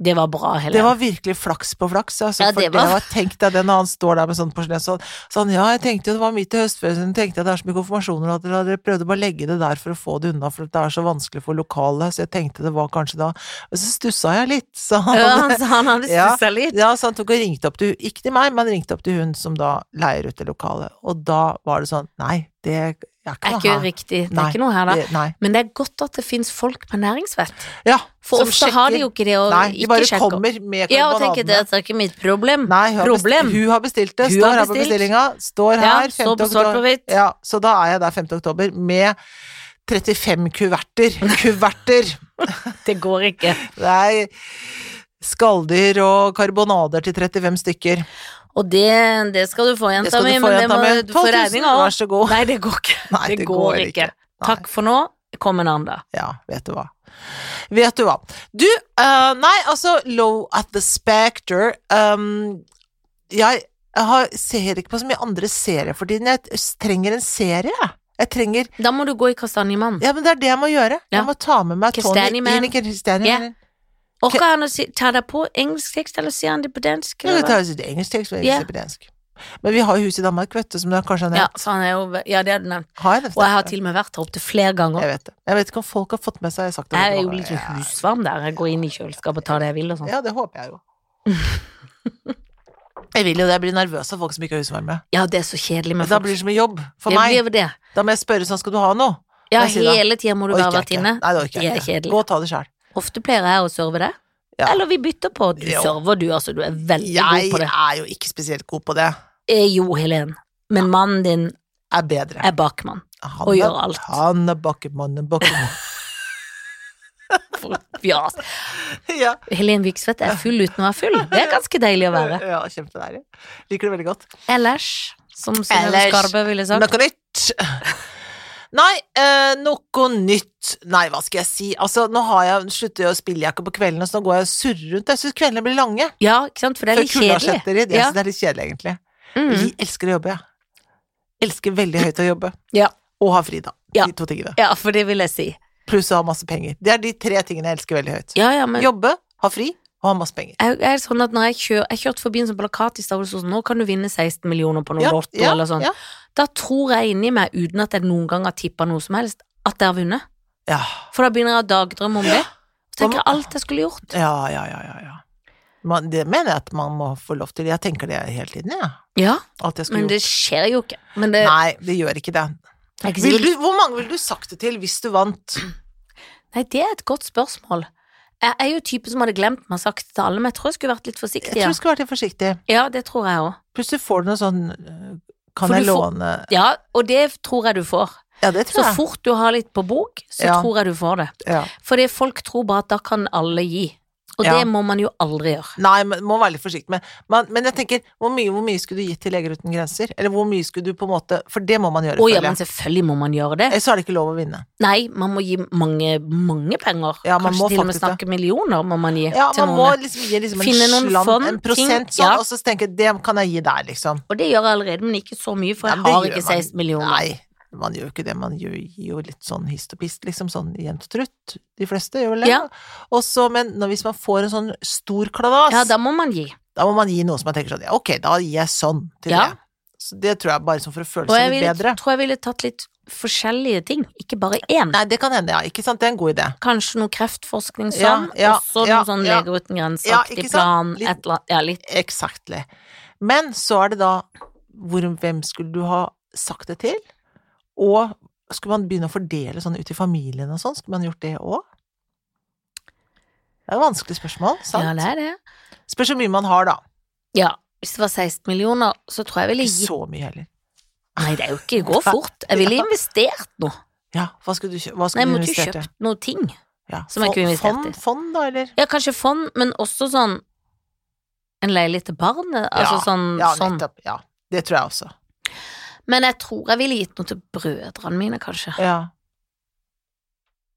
Speaker 2: Det var bra,
Speaker 1: Det
Speaker 2: Helen.
Speaker 1: var virkelig flaks på flaks. Altså,
Speaker 2: Ja,
Speaker 1: for
Speaker 2: det
Speaker 1: det
Speaker 2: var-
Speaker 1: var... Tenk deg det når han står der med sånn porselen sånn, sånn Ja, jeg tenkte jo det var midt i høstferien, tenkte jeg det er så mye konfirmasjoner og at dere dere prøvde bare å legge det der for å få det unna, for det er så vanskelig for lokale, så jeg tenkte det var kanskje da Og så stussa jeg litt, så han
Speaker 2: Ja, han, han hadde
Speaker 1: Ja.
Speaker 2: stussa litt.
Speaker 1: Ja, så han tok og ringte opp til ikke til meg, men ringte opp til hun som da leier ut det lokalet. Og da var det sånn Nei, det er ikke
Speaker 2: Det er
Speaker 1: noe
Speaker 2: ikke
Speaker 1: her.
Speaker 2: riktig. Det
Speaker 1: Nei,
Speaker 2: er ikke noe her, da.
Speaker 1: Det- Nei.
Speaker 2: Men det er godt at det fins folk med næringsvett.
Speaker 1: Ja,
Speaker 2: For
Speaker 1: som
Speaker 2: ofte har de
Speaker 1: sjekker.
Speaker 2: jo ikke det, og
Speaker 1: Nei, de
Speaker 2: ikke
Speaker 1: bare
Speaker 2: sjekker.
Speaker 1: kommer med
Speaker 2: Ja, og tenker det
Speaker 1: karbonadene.
Speaker 2: er ikke mitt problem.
Speaker 1: Nei, hun har,
Speaker 2: Problem.
Speaker 1: Bestilt, hun har bestilt det.
Speaker 2: Hun
Speaker 1: Står
Speaker 2: har
Speaker 1: her på
Speaker 2: bestilt.
Speaker 1: bestillinga. Står her.
Speaker 2: ja,
Speaker 1: 5.
Speaker 2: så på svart på
Speaker 1: oktober.
Speaker 2: hvitt.
Speaker 1: Ja, så da er jeg der 5. oktober med 35 kuverter. Kuverter!
Speaker 2: Det går ikke.
Speaker 1: Det er skalldyr og karbonader til 35 stykker.
Speaker 2: Og det, det skal du få,
Speaker 1: Det
Speaker 2: jenta
Speaker 1: skal
Speaker 2: mi,
Speaker 1: du få,
Speaker 2: men det
Speaker 1: jenta
Speaker 2: må
Speaker 1: mi.
Speaker 2: du
Speaker 1: 12
Speaker 2: få
Speaker 1: 000,
Speaker 2: regninga
Speaker 1: vær
Speaker 2: òg.
Speaker 1: så god.
Speaker 2: Nei, det går ikke.
Speaker 1: Nei,
Speaker 2: det, går, ikke. Takk for nå. Kom en annen, da.
Speaker 1: Ja, vet du hva. Vet du hva. Du, eh, nei, altså, Low at the Spectre ehm, Jeg har, ser ikke på så mye andre serier for tiden. Jeg t- trenger en serie, jeg. Jeg trenger
Speaker 2: Da må du gå i Kastanjemannen.
Speaker 1: Ja, men det er det jeg må gjøre.
Speaker 2: Ja.
Speaker 1: Jeg må ta med meg Tony
Speaker 2: Kristiani Man.
Speaker 1: Ine Kristiani.
Speaker 2: Ja.
Speaker 1: Man.
Speaker 2: Orker han å si, ta deg på engelsk tekst, eller sier han det på dansk?
Speaker 1: Kan
Speaker 2: eller
Speaker 1: du
Speaker 2: hva?
Speaker 1: ta oss et engelsk tekst, og
Speaker 2: Ja.
Speaker 1: engelsk på dansk? Men vi har jo hus i Danmark, vet du, som det er kanskje har
Speaker 2: Ja,
Speaker 1: nevnt.
Speaker 2: for han er jo, ja, det har du nevnt.
Speaker 1: Har jeg nevnt
Speaker 2: Og jeg har
Speaker 1: det?
Speaker 2: til og med vært her opptil flere ganger.
Speaker 1: Jeg vet det. Jeg vet ikke om folk har fått med seg jeg har sagt det.
Speaker 2: Jeg er
Speaker 1: mange
Speaker 2: jo
Speaker 1: ganger.
Speaker 2: litt sånn
Speaker 1: Ja. Sånn.
Speaker 2: husvarm der. Jeg går inn i kjøleskapet og tar det jeg vil og sånn.
Speaker 1: Ja, det håper jeg jo. Jeg vil jo det, jeg blir nervøs av folk som ikke har husvarme.
Speaker 2: Ja, det er så kjedelig med
Speaker 1: Da
Speaker 2: folk.
Speaker 1: blir det som en jobb for
Speaker 2: det
Speaker 1: meg.
Speaker 2: blir jo det.
Speaker 1: Da må jeg spørre sånn, skal du ha noe?
Speaker 2: Ja,
Speaker 1: jeg si da?
Speaker 2: hele tida må du
Speaker 1: Orker
Speaker 2: være
Speaker 1: jeg ikke.
Speaker 2: vertinne.
Speaker 1: Nei, det orker
Speaker 2: Det
Speaker 1: jeg
Speaker 2: er
Speaker 1: ikke.
Speaker 2: kjedelig.
Speaker 1: Gå og ta det sjøl.
Speaker 2: Ofte pleier jeg å serve det.
Speaker 1: Ja.
Speaker 2: Eller vi bytter på. Du
Speaker 1: Jo.
Speaker 2: server, du, altså. Du er veldig god på
Speaker 1: Jeg
Speaker 2: det.
Speaker 1: er jo ikke spesielt god på det.
Speaker 2: Eh, jo, Helen. Men mannen din
Speaker 1: Er bedre.
Speaker 2: er bakmann.
Speaker 1: Han
Speaker 2: Og
Speaker 1: er-
Speaker 2: gjør alt.
Speaker 1: Han er bakkemann, en bakkemann.
Speaker 2: For fjas.
Speaker 1: ja.
Speaker 2: altså. Helen Viksvedt er full uten å være full. Det er ganske deilig å være.
Speaker 1: ja, kjempedeilig. Liker det veldig godt.
Speaker 2: Ellers, som Synnøve
Speaker 1: Ellers.
Speaker 2: Skarbø ville sagt.
Speaker 1: Noe nytt. Nei, eh, noe nytt Nei, hva skal jeg si? Altså, nå har jeg, slutter jeg å spille jeg ikke på kveldene, så nå går jeg og surrer rundt. Jeg syns kveldene blir lange.
Speaker 2: Ja, ikke sant, for det er
Speaker 1: Før
Speaker 2: litt
Speaker 1: kulda
Speaker 2: kjedelig.
Speaker 1: setter inn. Jeg
Speaker 2: Ja.
Speaker 1: synes det er litt kjedelig, egentlig.
Speaker 2: Mm.
Speaker 1: Jeg elsker å jobbe, jeg. Elsker veldig høyt å jobbe.
Speaker 2: Ja.
Speaker 1: Og ha fri, da.
Speaker 2: Ja.
Speaker 1: De to tingene.
Speaker 2: Ja, for det vil jeg si.
Speaker 1: Pluss å ha masse penger. Det er de tre tingene jeg elsker veldig høyt.
Speaker 2: Ja, ja, men
Speaker 1: Jobbe, ha fri og ha masse penger.
Speaker 2: jeg, jeg er sånn at når jeg kjører Jeg kjørte forbi en sånn plakat i Stavelsås Nå kan du vinne 16 millioner på noe lotto eller sånn
Speaker 1: Ja.
Speaker 2: Da tror jeg inni meg, uten at jeg noen gang har tippet noe som helst At jeg har vunnet
Speaker 1: Ja.
Speaker 2: For da begynner jeg å dagdrømme om det Så tenker
Speaker 1: Hva
Speaker 2: jeg alt jeg skulle gjort
Speaker 1: ja, ja, ja, ja. ja. Man, det mener jeg at man må få lov til. Jeg tenker det hele tiden, jeg. Ja.
Speaker 2: Ja,
Speaker 1: Alt jeg skulle
Speaker 2: men
Speaker 1: gjort.
Speaker 2: det skjer jo ikke Men det
Speaker 1: Nei, det gjør ikke det.
Speaker 2: jeg er ikke
Speaker 1: Vil
Speaker 2: sikker-
Speaker 1: du, hvor mange ville du sagt det til hvis du vant?
Speaker 2: Nei, det er et godt spørsmål Jeg er jo typen som hadde glemt meg sagt det til alle Men jeg tror jeg skulle vært litt
Speaker 1: Jeg
Speaker 2: forsiktig
Speaker 1: tror
Speaker 2: ja.
Speaker 1: du skal være litt forsiktig.
Speaker 2: ja, det tror jeg også
Speaker 1: Plutselig får du noe sånn øh, Kan
Speaker 2: For
Speaker 1: jeg
Speaker 2: du får-
Speaker 1: låne
Speaker 2: Ja, og det tror jeg du får
Speaker 1: Ja, det
Speaker 2: Så
Speaker 1: tror jeg.
Speaker 2: fort du har litt på bok Så
Speaker 1: Ja.
Speaker 2: tror jeg du får det
Speaker 1: Ja.
Speaker 2: Fordi folk tror bare at da kan alle gi. Og
Speaker 1: Ja.
Speaker 2: det må man jo aldri gjøre.
Speaker 1: Nei, men må være litt forsiktig med Men, men jeg tenker, hvor mye, hvor mye skulle du gitt til Leger uten grenser? Eller hvor mye skulle du på en måte For det må man gjøre,
Speaker 2: Å ja,
Speaker 1: føler
Speaker 2: men
Speaker 1: jeg.
Speaker 2: selvfølgelig må man gjøre det.
Speaker 1: Ellers er det ikke lov å vinne.
Speaker 2: Nei, man må gi mange, mange penger.
Speaker 1: Ja, man må
Speaker 2: Kanskje til og med
Speaker 1: faktisk det.
Speaker 2: snakke millioner må man gi
Speaker 1: Ja,
Speaker 2: til
Speaker 1: man må
Speaker 2: noen.
Speaker 1: liksom gi liksom en
Speaker 2: Finne noen
Speaker 1: slant,
Speaker 2: fond,
Speaker 1: en prosent
Speaker 2: ting,
Speaker 1: sånn,
Speaker 2: ja.
Speaker 1: og så tenker jeg, det kan jeg gi der, liksom.
Speaker 2: Og det gjør jeg allerede, men ikke så mye, for
Speaker 1: Ja,
Speaker 2: jeg
Speaker 1: det
Speaker 2: har
Speaker 1: gjør
Speaker 2: ikke
Speaker 1: man.
Speaker 2: 16 millioner.
Speaker 1: Nei, man gjør jo ikke det, man gjør, gir jo litt sånn hist og pist, liksom sånn jevnt og trutt. De fleste gjør vel det.
Speaker 2: Ja.
Speaker 1: Og så, men når, hvis man får en sånn stor kladas,
Speaker 2: Ja,
Speaker 1: da,
Speaker 2: da må man gi.
Speaker 1: må man gi noe som man tenker sånn, ja, ok, da gir jeg sånn til
Speaker 2: Ja.
Speaker 1: det. Så det tror jeg bare sånn for å føle
Speaker 2: Og jeg
Speaker 1: seg litt
Speaker 2: ville,
Speaker 1: bedre.
Speaker 2: tror jeg ville tatt litt forskjellige ting, ikke bare én.
Speaker 1: Nei, det kan hende, ja, ikke sant, det er en god idé.
Speaker 2: Kanskje noe kreftforskning
Speaker 1: Ja,
Speaker 2: sånn,
Speaker 1: ja,
Speaker 2: og så
Speaker 1: ja,
Speaker 2: noe sånn
Speaker 1: ja.
Speaker 2: Leger uten
Speaker 1: Ja,
Speaker 2: grenser-aktig
Speaker 1: ikke sant?
Speaker 2: plan,
Speaker 1: Litt-
Speaker 2: et eller annet. Ja, litt.
Speaker 1: Exactly. Men så er det da hvor, hvem skulle du ha sagt det til? Og skulle man begynne å fordele sånn ut i familien og sånn? Skulle man gjort det òg? Det er et vanskelig spørsmål,
Speaker 2: Ja,
Speaker 1: sant?
Speaker 2: det er det.
Speaker 1: Spørs hvor mye man har, da.
Speaker 2: Ja, hvis det var 16 millioner, så tror jeg jeg ville
Speaker 1: Ikke
Speaker 2: gitt
Speaker 1: så mye heller.
Speaker 2: Nei, det er jo ikke det går fort. Jeg ville
Speaker 1: Ja.
Speaker 2: investert noe.
Speaker 1: Ja, hva skulle du, kjø- hva
Speaker 2: Nei,
Speaker 1: skulle
Speaker 2: jeg
Speaker 1: du
Speaker 2: måtte jo
Speaker 1: investert i?
Speaker 2: kjøpt noe ting.
Speaker 1: Ja.
Speaker 2: som jeg
Speaker 1: fond-
Speaker 2: kunne investert i.
Speaker 1: Fond, fond, da, eller?
Speaker 2: Ja, kanskje fond, men også sånn en leilighet til barnet. Altså
Speaker 1: Ja,
Speaker 2: sånn,
Speaker 1: Ja,
Speaker 2: sånn.
Speaker 1: nettopp. Ja, det tror jeg også.
Speaker 2: Men jeg tror jeg ville gitt noe til brødrene mine, kanskje.
Speaker 1: Ja.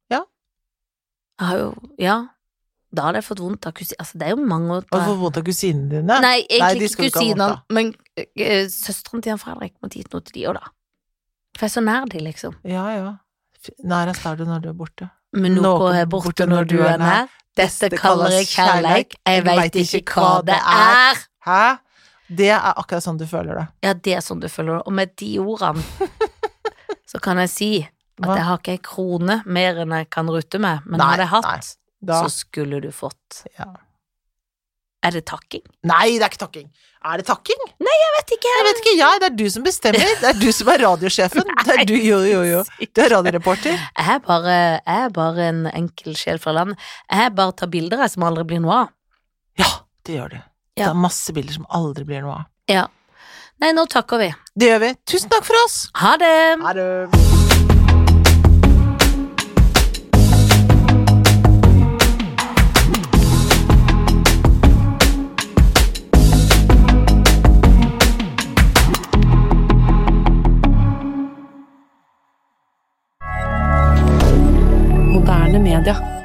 Speaker 2: Jeg har jo Ja. Da hadde jeg fått vondt av kusin... Altså, det er jo mange år
Speaker 1: Og får vondt av kusinene dine?
Speaker 2: Nei, egentlig
Speaker 1: de
Speaker 2: ikke
Speaker 1: skulle ikke ha vondt
Speaker 2: kusinene,
Speaker 1: av.
Speaker 2: men uh, søsteren til han Fredrik måtte gitt noe til de òg, da. For jeg er så nær de, liksom.
Speaker 1: Ja, ja. F- Nærest er du når du er borte.
Speaker 2: Men noe er borte når du er nær. Dette kaller jeg kjærleik, jeg veit ikke hva det er.
Speaker 1: Hæ? Det er akkurat sånn du føler det.
Speaker 2: Ja, det er sånn du føler det. Og med de ordene så kan jeg si at
Speaker 1: Hva?
Speaker 2: jeg har ikke ei krone mer enn jeg kan rutte med, men
Speaker 1: Nei,
Speaker 2: hadde jeg hatt,
Speaker 1: Da.
Speaker 2: så skulle du fått.
Speaker 1: Ja.
Speaker 2: Er det takking?
Speaker 1: Nei, det er ikke takking. Er det takking?
Speaker 2: Jeg vet ikke.
Speaker 1: Jeg vet ikke, jeg. Det er du som bestemmer. Det er du som er radiosjefen. Det er du, jo, jo, jo. Du er radioreporter.
Speaker 2: Jeg er bare, jeg er bare en enkel sjel fra land. Jeg bare tar bilder jeg som aldri blir noe av.
Speaker 1: Ja, det gjør du. Det
Speaker 2: Ja.
Speaker 1: er masse bilder som aldri blir noe av.
Speaker 2: Ja. Nei, nå takker vi.
Speaker 1: Det gjør vi. Tusen takk for oss!
Speaker 2: Ha det!
Speaker 1: Ha det.
Speaker 3: Moderne media.